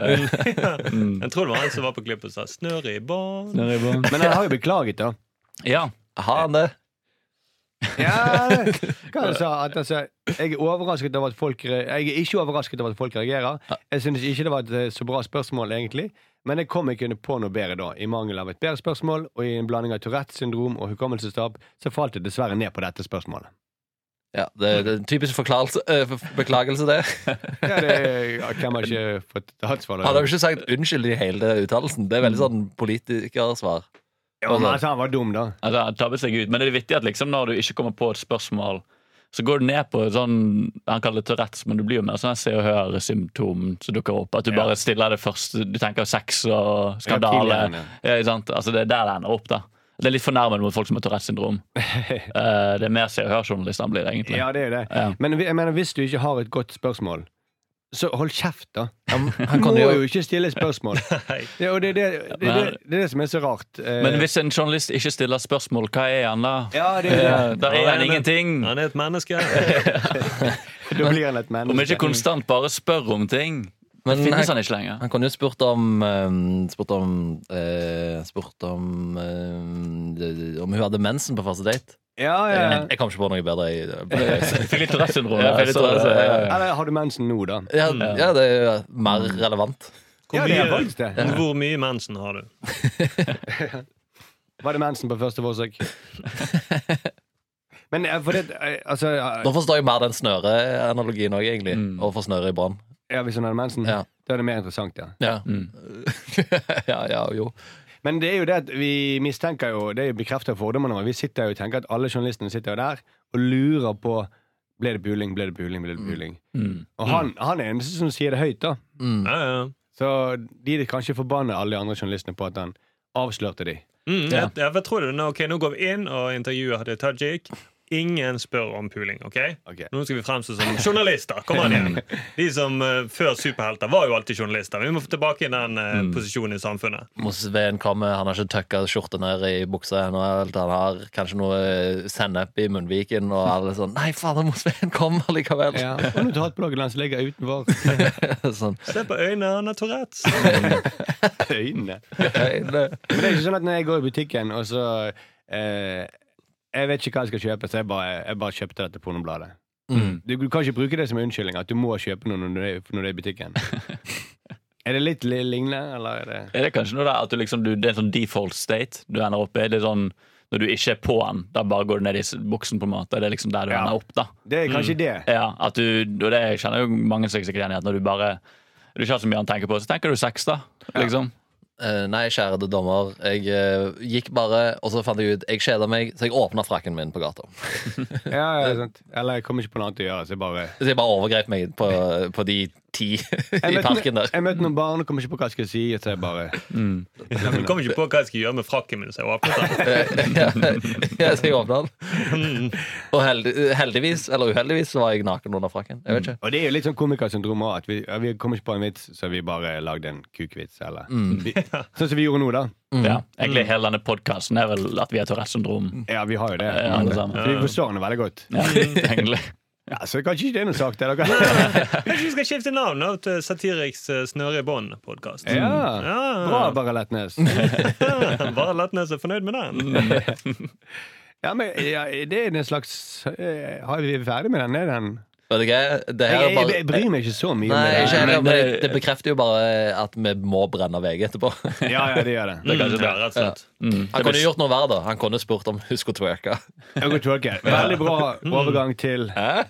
Speaker 2: Mm.
Speaker 5: Jeg tror det var han som var på klippet og sa 'snøre i bånd'.
Speaker 2: Snørr i bånd.
Speaker 4: Men han har jo beklaget, da.
Speaker 2: Ja.
Speaker 7: Har han det?
Speaker 4: Ja, hva han sa at, altså, Jeg er overrasket over at folk re- Jeg er ikke overrasket over at folk reagerer. Jeg synes ikke det var et eh, så bra spørsmål, egentlig. Men jeg kom ikke på noe bedre da. I mangel av et bedre spørsmål og i en blanding av Tourettes syndrom og hukommelsestap, så falt jeg dessverre ned på dette spørsmålet.
Speaker 7: Ja, det, det er en typisk forklarelse, eh, beklagelse, det.
Speaker 4: Ja, det, ja, hvem har ikke fått hatsvar?
Speaker 7: Han har jo ikke sagt unnskyld i hele uttalelsen. Det er
Speaker 2: Mm.
Speaker 7: veldig sånn politikersvar.
Speaker 4: Ja, men altså, han var dum, da.
Speaker 2: Altså, han tabbet seg ut. Men det er viktig at liksom, når du ikke kommer på et spørsmål, så går du ned på et sånn Han kaller det Tourettes, men du blir jo mer sånn se og hør-symptom som dukker opp. At du bare stiller det første Du tenker sex og skandale.
Speaker 4: Ja, tidligere,
Speaker 2: Ja, ikke sant? altså, det er der det ender opp, da. Det er litt fornærmende mot folk som har Tourettes syndrom. Eh, det er mer se og hør-journalist han blir, egentlig.
Speaker 4: Ja, det er jo det.
Speaker 2: Ja.
Speaker 4: Men vi- jeg mener, hvis du ikke har et godt spørsmål, så hold kjeft, da.
Speaker 7: Han,
Speaker 4: Du
Speaker 7: han
Speaker 4: må
Speaker 7: kan jo
Speaker 4: jo ikke stille spørsmål. Det, og det, er det, det, er det, det er det som er så rart. Eh,
Speaker 2: Men hvis en journalist ikke stiller spørsmål, hva er han da?
Speaker 4: Ja, det
Speaker 2: Eh,
Speaker 4: er det.
Speaker 2: der er han ingenting.
Speaker 5: Han er et menneske.
Speaker 4: Da blir han et
Speaker 2: Om ikke
Speaker 4: menneske.
Speaker 2: konstant bare spør om ting,
Speaker 7: Men
Speaker 2: finnes han
Speaker 7: han-
Speaker 2: ikke lenger.
Speaker 7: Han kunne jo spurt om eh, Spurt om eh, Spurt om eh, Om hun hadde mensen på første date.
Speaker 4: Ja, ja, ja.
Speaker 7: Jeg, jeg kom ikke på noe bedre. Jeg,
Speaker 2: Fikk litt Tourettes-syndrom.
Speaker 7: Ja, fikk litt Tourettes, ja, ja, ja.
Speaker 4: Eller har du mensen nå, da?
Speaker 7: ja, ja, det er jo mer relevant.
Speaker 5: Hvor
Speaker 4: Ja, det er
Speaker 5: mye-
Speaker 4: faktisk det.
Speaker 5: Hvor mye mensen har du?
Speaker 4: Var det mensen på første forsøk? Men eh, for det eh, Altså, eh,
Speaker 7: Nå forstår jeg mer den snøreanalogien òg, egentlig. Å få snøre i brann.
Speaker 4: ja, hvis hun hadde mensen,
Speaker 7: Ja.
Speaker 4: da er det mer interessant, ja.
Speaker 7: Ja. ja, ja, jo.
Speaker 4: Men det er jo det at vi mistenker jo Det er jo bekrefter fordommene våre. Vi sitter jo og tenker at alle journalistene sitter jo der og lurer på ble det puling, ble det puling, ble det puling. Og han, han er eneste som sier det høyt, da.
Speaker 5: Ja, ja.
Speaker 4: Så de er kanskje forbanner alle de andre journalistene på at han avslørte de.
Speaker 5: Mm, jeg, jeg, tror det. Nå, ok, nå går vi inn og intervjuer Hadia Tajik. Ingen spør om puling. ok?
Speaker 4: Ok.
Speaker 5: Nå skal vi fremstå som journalister. Kom an igjen. De som eh, før superhelter var jo alltid journalister. Vi må få tilbake i den eh, posisjonen i samfunnet.
Speaker 7: Sveen kommer, han har ikke tøkka skjorta ned i buksa ennå. helt. Han har kanskje noe eh, sennep i munnviken, og alle er sånn Nei, fader, må Sveen komme allikevel!
Speaker 4: Ja. Og nå tar hattplagget hans ligger utenfor
Speaker 7: sånn.
Speaker 5: Se på øynene, han har Tourettes.
Speaker 4: øynene.
Speaker 7: «Hei, det-
Speaker 4: Men det er ikke sånn at når jeg går i butikken, og så eh, Jeg vet ikke hva jeg skal kjøpe, så jeg bare, jeg bare kjøpte dette pornobladet.
Speaker 7: Mm.
Speaker 4: Du, du kan ikke bruke det som unnskyldning at du må kjøpe noe når du er, når du er i butikken. er det litt li- lignende, eller er det
Speaker 2: Er det kanskje noe der at du liksom, du, det er en sånn default state du ender opp i? Det er sånn, når du ikke er på den, da bare går du ned i s- buksen, på en måte. Det er liksom der du
Speaker 4: Ja.
Speaker 2: ender opp, da.
Speaker 4: Det er kanskje det.
Speaker 2: Ja, at du, og det kjenner jo mange seg sikkert igjen i, at når du bare du ikke har så mye annet å tenke på, så tenker du sex, da. Liksom.
Speaker 7: Eh, Nei, kjære dommer. Jeg eh, gikk bare, og så fant jeg ut Jeg kjeder meg, så jeg åpna frakken min på gata.
Speaker 4: Ja, ja, sant. Eller jeg kommer ikke på noe annet å gjøre, så jeg bare
Speaker 7: Så jeg bare overgrep meg på, på de ti i
Speaker 4: jeg møtte,
Speaker 7: parken der.
Speaker 4: jeg møtte noen barn og kom ikke på hva jeg skulle si, så jeg bare
Speaker 5: Jeg kom ikke på hva jeg skal gjøre med frakken min, så jeg åpnet den.
Speaker 7: ja, ja, så jeg åpna den.
Speaker 4: Mm.
Speaker 7: Og heldig, heldigvis, eller uheldigvis, så var jeg naken under frakken. Jeg vet ikke.
Speaker 4: Og det er jo litt sånn komikersyndrom òg, at vi, ja, vi kommer ikke på en vits, så vi bare lagde en kukvits, eller vi, Sånn som vi gjorde nå, da.
Speaker 2: Ja. Egentlig hele denne podkasten er vel at vi har Tourettes syndrom.
Speaker 4: Ja, vi har jo det.
Speaker 2: Ja, alle sammen.
Speaker 4: Så vi forstår henne veldig godt.
Speaker 2: Ja, egentlig.
Speaker 4: Ja, så kanskje ikke det er noe sak til dere.
Speaker 5: Kanskje vi skal skifte navn da, til Satiriks eh, Snøre i bånd-podkast.
Speaker 4: Ja.
Speaker 5: Ja.
Speaker 4: Bra, Bare Letnes.
Speaker 5: ah, Bare Letnes er fornøyd med den.
Speaker 4: Ja, men ja, det er en slags eh, Har vi ferdig med den? Er den?
Speaker 7: Vet du hva? Det her
Speaker 4: Jeg,
Speaker 7: er
Speaker 4: jeg,
Speaker 7: bare
Speaker 4: jeg bryr meg ikke så mye
Speaker 7: Nei,
Speaker 4: om
Speaker 7: ikke
Speaker 4: det.
Speaker 7: heller,
Speaker 2: Men
Speaker 7: men eh, det,
Speaker 2: det-
Speaker 7: det bekrefter jo bare at vi må brenne VG etterpå.
Speaker 4: Ja, ja, det gjør det.
Speaker 5: Det er kanskje det, Mm. rett og slett.
Speaker 7: Han kunne gjort noe verre, da. Han kunne spurt om hun skulle twerke.
Speaker 4: Jeg går twerke. Veldig bra overgang til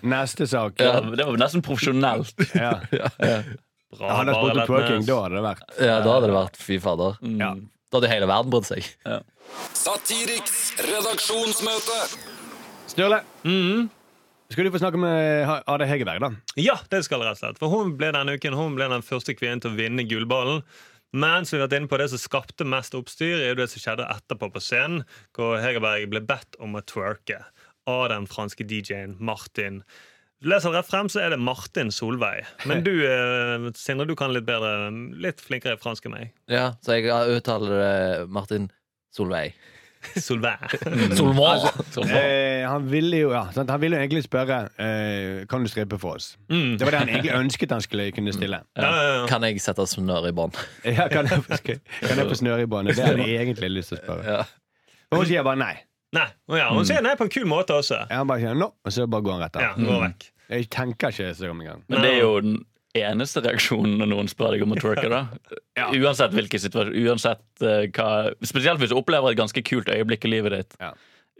Speaker 4: neste sak.
Speaker 2: Ja, det var nesten profesjonelt.
Speaker 4: Ja.
Speaker 5: Bra, Bare
Speaker 4: Hadde jeg spurt om
Speaker 5: Letnes.
Speaker 4: twerking, da hadde det vært
Speaker 7: Ja, Da hadde det vært fy fader.
Speaker 4: Ja.
Speaker 7: Da hadde hele verden brydd seg.
Speaker 6: Satiriks redaksjonsmøte.
Speaker 4: Sturle, skal du få snakke med Ha- Ada Hegerberg, da?
Speaker 5: Ja, det skal jeg rett og slett. For hun ble denne uken hun ble den første kvinnen til å vinne gullballen. Men som vi har vært inne på det som skapte mest oppstyr, er jo det som skjedde etterpå på scenen, hvor Hegerberg ble bedt om å twerke av den franske DJ-en Martin. Leser rett frem, så er det Martin Solveig. Men du, eh, Sindre, du kan litt bedre, litt flinkere i fransk enn meg.
Speaker 7: Ja, så jeg uttaler det Martin Solveig.
Speaker 5: Solveig.
Speaker 7: Mm. Solvang!
Speaker 4: Eh, han ville jo ja, sant? Han ville jo egentlig spørre eh, Kan du strippe for oss. Det var det han egentlig ønsket han skulle kunne stille.
Speaker 5: Mm. Ja, ja, ja.
Speaker 7: Kan jeg sette snøre i bånd?
Speaker 4: Ja, kan jeg få, skal- kan jeg få snøribåndet? Det hadde jeg egentlig lyst til å spørre.
Speaker 7: Ja.
Speaker 4: Og hun sier bare nei.
Speaker 5: Nei, å ja, Hun sier nei på en kul måte også.
Speaker 4: Ja, Han bare sier no, og så bare går han rett
Speaker 5: Ja,
Speaker 4: av.
Speaker 5: gå vekk.
Speaker 4: Jeg tenker ikke så om engang.
Speaker 2: Men det er jo den eneste reaksjonen når noen spør deg om å twerke. da Uansett hvilken situasjon uansett, eh, hva, Spesielt hvis du opplever et ganske kult øyeblikk i livet ditt.
Speaker 4: Ja.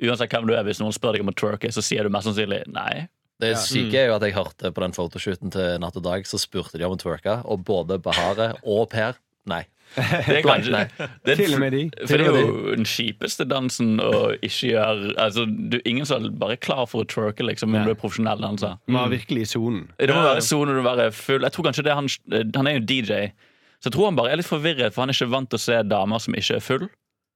Speaker 2: Uansett hvem du er, Hvis noen spør deg om å twerke, så sier du mest sannsynlig nei.
Speaker 7: Det syke er jo at jeg hørte på den fotoshooten til Natt og Dag, så spurte de om å twerke, og både Bahare og Per nei.
Speaker 2: Det er
Speaker 7: Blankt
Speaker 2: kanskje-
Speaker 7: nei.
Speaker 2: det er-
Speaker 4: Til og med de.
Speaker 2: For det er jo den kjipeste dansen å ikke gjøre altså, du, Ingen som er bare klar for å twerke, liksom, om du er profesjonell danser.
Speaker 4: Var virkelig i sonen.
Speaker 2: Det må være sone, du må være full. Jeg tror kanskje det er han, han er jo DJ. Så jeg tror han bare er litt forvirret, for han er ikke vant til å se damer som ikke er full.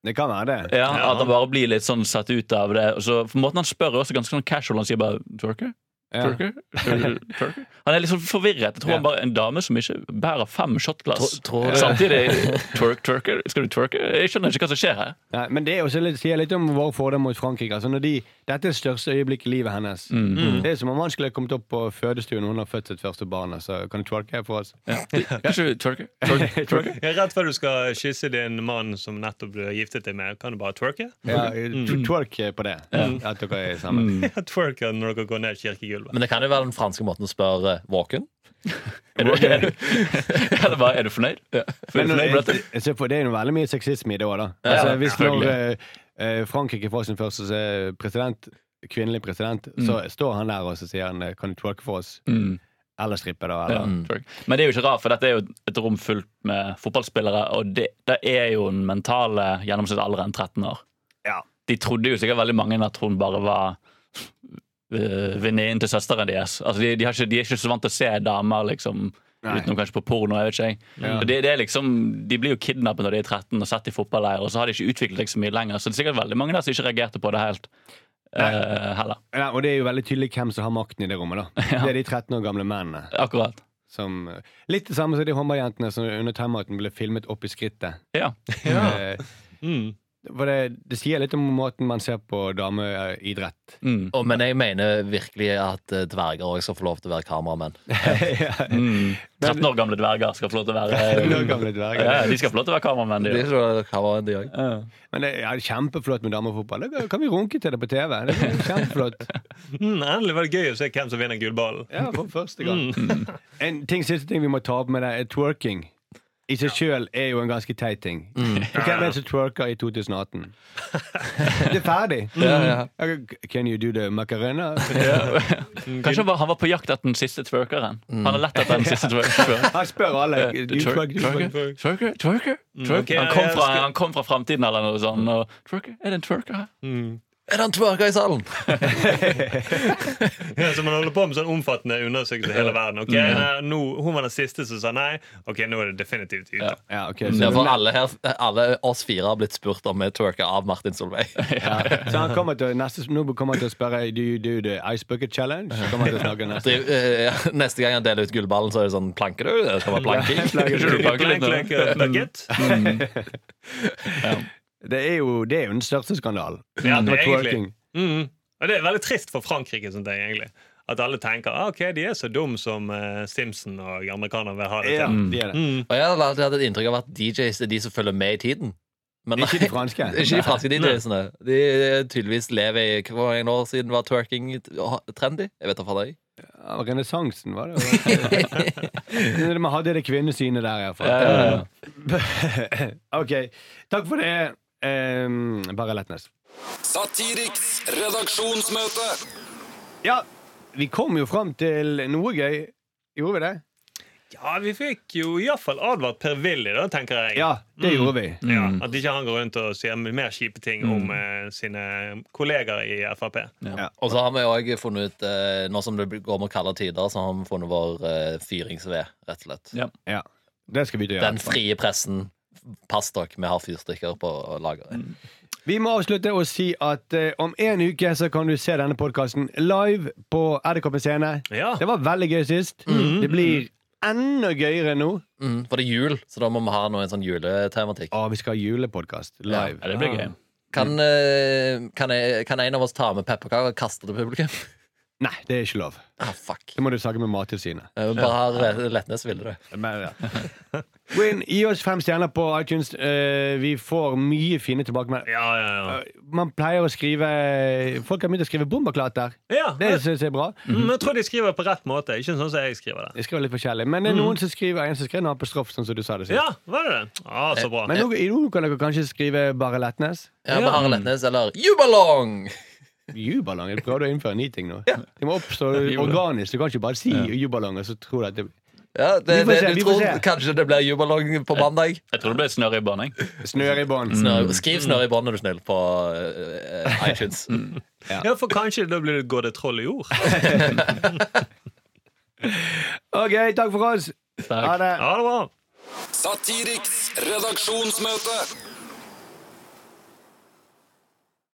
Speaker 4: Det kan være det.
Speaker 2: Ja, At han bare blir litt sånn satt ut av det. Og Så for måten han spør er også ganske sånn casual. Han sier bare 'twerker'?
Speaker 4: Ja.
Speaker 2: Twerker? Twerker? Twerker? Han er litt sånn forvirret. Jeg tror
Speaker 4: Ja.
Speaker 2: han bare er en dame som ikke bærer fem shotglass.
Speaker 7: Tror- tror du-
Speaker 2: Samtidig twerk, twerker. Skal du twerke? Jeg skjønner ikke hva som skjer her.
Speaker 4: Nei, men det er også litt, sier litt om vår fordel mot Frankrike. Altså når de, dette er det største øyeblikket i livet hennes.
Speaker 2: Mm.
Speaker 4: Mm. Det er som om han skulle kommet opp på fødestuen når hun har født sitt første barn. Altså, kan du twerke her for oss?
Speaker 2: Kan ikke du twerke? Twerk, twerker?
Speaker 5: Ja, Rett før du skal kysse din mann som nettopp du har giftet deg med, kan du bare twerke?
Speaker 4: Ja,
Speaker 2: Mm.
Speaker 4: tw- twerk på det. At dere er sammen.
Speaker 5: Twerke når dere går ned kirkegulvet.
Speaker 7: Men det kan jo være den franske måten å spørre våken.
Speaker 2: Er du, er du, eller bare, er du fornøyd? Er
Speaker 4: Men
Speaker 2: du fornøyd med dette?
Speaker 4: jeg- så for- det er jo veldig mye sexisme i det òg, da.
Speaker 2: Ja,
Speaker 4: Altså, hvis når
Speaker 2: selvfølgelig.
Speaker 4: eh, eh, Frankrike får sin første eh, president, kvinnelig president, så står han der og så sier han eh, 'Kan du twerke for oss?'
Speaker 2: Mm.
Speaker 4: Eller strippe, da.
Speaker 2: Ja,
Speaker 4: Eller.
Speaker 2: twerk. Men det er jo ikke rart, for dette er jo et rom fullt med fotballspillere, og det, det er jo den mentale gjennomsnittalderen 13 år.
Speaker 4: Ja.
Speaker 2: De trodde jo sikkert veldig mange at hun bare var øh, venninnen til søsteren deres. Altså, de, de, har ikke, de er ikke så vant til å se damer, liksom.
Speaker 4: Nei.
Speaker 2: Utenom kanskje på porno. jeg vet ikke jeg.
Speaker 4: Ja.
Speaker 2: Og Det, det er liksom, de blir jo kidnappet når de er 13 og satt i fotballeir, og så har de ikke utviklet seg så mye lenger. Så det er sikkert veldig mange der som ikke reagerte på det helt. eh, heller.
Speaker 4: Ja, og det er jo veldig tydelig hvem som har makten i det rommet. da Det er de 13 år gamle mennene.
Speaker 2: Akkurat.
Speaker 4: Som, eh, litt det samme som de håndballjentene som under timeouten ble filmet opp i skrittet.
Speaker 2: Ja.
Speaker 4: Eh,
Speaker 5: Mm.
Speaker 4: For det, det sier litt om måten man ser på dameidrett.
Speaker 2: Mm.
Speaker 7: Og, men jeg mener virkelig at eh, dverger også skal få lov til å være kameramenn.
Speaker 4: ja.
Speaker 2: Mm. 13 år gamle dverger skal få lov til å
Speaker 4: Nå
Speaker 2: være eh,
Speaker 4: gamle dverger.
Speaker 2: ja, De skal få lov til å være kameramenn,
Speaker 7: De
Speaker 2: de.
Speaker 7: skal være kameramenn, de også.
Speaker 2: Ja.
Speaker 4: Men det er kjempeflott med damefotball. Det kan vi runke til det på TV. Det er kjempeflott.
Speaker 5: Mm, endelig var det gøy å se hvem som vinner gullballen.
Speaker 4: Ja, for første gang. En ting, siste ting vi må ta opp med det, er twerking. I seg sjøl er jo en ganske teit ting. Og Hvem er det som twerker i 2018? Det er ferdig.
Speaker 7: Mm.
Speaker 4: Can you do the macarena?
Speaker 2: Kanskje han var, han var på jakt etter den siste twerkeren. Han har lett etter den siste twerkeren.
Speaker 4: Han spør alle.
Speaker 2: Eh,
Speaker 4: Du twerk, du twerk.
Speaker 2: Twerker? Twerker? Twerker?
Speaker 5: Mm, ok,
Speaker 2: Twerker? Han kom
Speaker 5: jeg
Speaker 2: fra,
Speaker 5: skal-
Speaker 2: han kom fra framtiden eller noe sånt. Og, twerker? Er det en twerker her?
Speaker 5: Mm.
Speaker 7: Er det en twerker i salen?
Speaker 5: Ja, så man holder på med sånn omfattende undersøkelser i hele verden. Ok,
Speaker 4: Mm.
Speaker 5: nei, nå, Hun var den siste som sa nei. Ok, nå er det definitivt ute.
Speaker 4: Ja, ok,
Speaker 7: Ja, for
Speaker 4: så,
Speaker 7: alle, her, alle oss fire har blitt spurt om vi twerker av Martin Solveig.
Speaker 4: ja. så han kommer til, å- neste, nå kommer han til å spørre Do you do the ice bucket challenge? Så kommer han til å snakke neste
Speaker 7: Driv- eh, ja, Neste gang han deler ut gullballen, så er det sånn Planker du? Det skal være planking.
Speaker 2: Kanskje du planker litt nå?
Speaker 5: Blank, blank, eh, bucket.
Speaker 4: Mm. Det er jo, det er jo den største skandalen.
Speaker 5: Ja, det
Speaker 4: Med
Speaker 5: er egentlig.
Speaker 4: twerking.
Speaker 5: Mm. Og det er veldig trist for Frankrike. Sånn ting, egentlig At alle tenker ah, ok, de er så dumme som eh, Simpson og amerikanerne vil ha det
Speaker 4: Ja,
Speaker 5: til.
Speaker 4: de er det.
Speaker 5: Mm.
Speaker 7: Og jeg hadde alltid hatt et inntrykk av at DJs er de som følger med i tiden. Men
Speaker 4: Ikke de franske.
Speaker 7: Ikke de franske DJ-ene. De eh, tydeligvis lever i Hvor mange år siden var twerking trendy? Jeg vet da fader. jeg.
Speaker 4: Ja, Renessansen, var det? Når Man hadde det kvinnesynet der,
Speaker 2: ja,
Speaker 4: iallfall. ok. Takk for det, um, Bare Letnes.
Speaker 6: Satiriks redaksjonsmøte.
Speaker 4: Ja, vi kom jo fram til noe gøy. Gjorde vi det?
Speaker 5: Ja, vi fikk jo iallfall advart Per-Willy, da, tenker jeg.
Speaker 4: Ja,
Speaker 2: Mm.
Speaker 4: det gjorde vi.
Speaker 5: Ja, At ikke han går rundt og sier mer kjipe ting om eh, sine kollegaer i Frp.
Speaker 7: Og så har vi òg funnet ut, eh, nå som det går mot kalde tider, så har vi funnet vår eh, fyringsved, rett og slett.
Speaker 2: Ja.
Speaker 4: Ja, Det skal vi gjøre.
Speaker 7: Den frie pressen. Pass dere, vi har fyrstikker på lageret.
Speaker 4: Vi må avslutte og si at eh, om en uke så kan du se denne podkasten live på Edderkoppen scene.
Speaker 5: Ja.
Speaker 4: Det var veldig gøy sist.
Speaker 2: Mm.
Speaker 4: Det blir enda gøyere nå.
Speaker 7: Mm, for det er jul, så da må vi ha noe en sånn juletematikk.
Speaker 4: Å, vi skal ha julepodkast live.
Speaker 2: Ja, det blir gøy.
Speaker 4: Mm.
Speaker 7: Kan, eh, kan, jeg, kan en av oss ta med pepperkaker og kaste det på publikum?
Speaker 4: Nei, det er ikke lov.
Speaker 7: Ah, fuck.
Speaker 4: Det må du snakke med Mattilsynet.
Speaker 7: Eh, Bare ja. Letnes ville det.
Speaker 4: Men, ja. Gå inn, gi oss fem stjerner på iTunes. Eh, vi får mye fine tilbakemeldinger.
Speaker 5: Ja, ja, ja.
Speaker 4: Eh, Man pleier å skrive Folk har begynt å skrive bomberklater.
Speaker 5: ja
Speaker 4: Det
Speaker 5: jeg-
Speaker 4: syns jeg er bra.
Speaker 5: Mm, jeg tror de skriver på rett måte. Ikke sånn som jeg skriver det.
Speaker 4: Jeg skriver litt forskjellig Men det er noen som skriver en som skrev en apostrof, sånn som du sa det sist.
Speaker 5: Ja, var det det? Ah, så bra.
Speaker 4: Men nå, i nå kan dere kanskje skrive bare Letnes.
Speaker 7: Ja, Bare Letnes eller jubalong!
Speaker 4: Jubalong? Jeg prøvde å innføre en ny ting nå. Det må oppstå organisk. Du kan ikke bare si jubalong. Og så tror du at det
Speaker 7: Ja, det,
Speaker 4: Vi får
Speaker 7: det,
Speaker 4: se,
Speaker 7: du
Speaker 4: vi får
Speaker 7: tror
Speaker 4: se.
Speaker 7: kanskje det blir jubalong på mandag?
Speaker 2: Jeg tror det ble snørribånd. jeg.
Speaker 4: Snøribånd.
Speaker 7: Snør, skriv 'snørr i bånd' er du snill på eh, eh, iTunes.
Speaker 4: Mm.
Speaker 5: Ja, for kanskje da blir det går det troll i ord.
Speaker 4: OK, takk for oss. Ha det.
Speaker 5: Ja, det var.
Speaker 6: Satiriks redaksjonsmøte.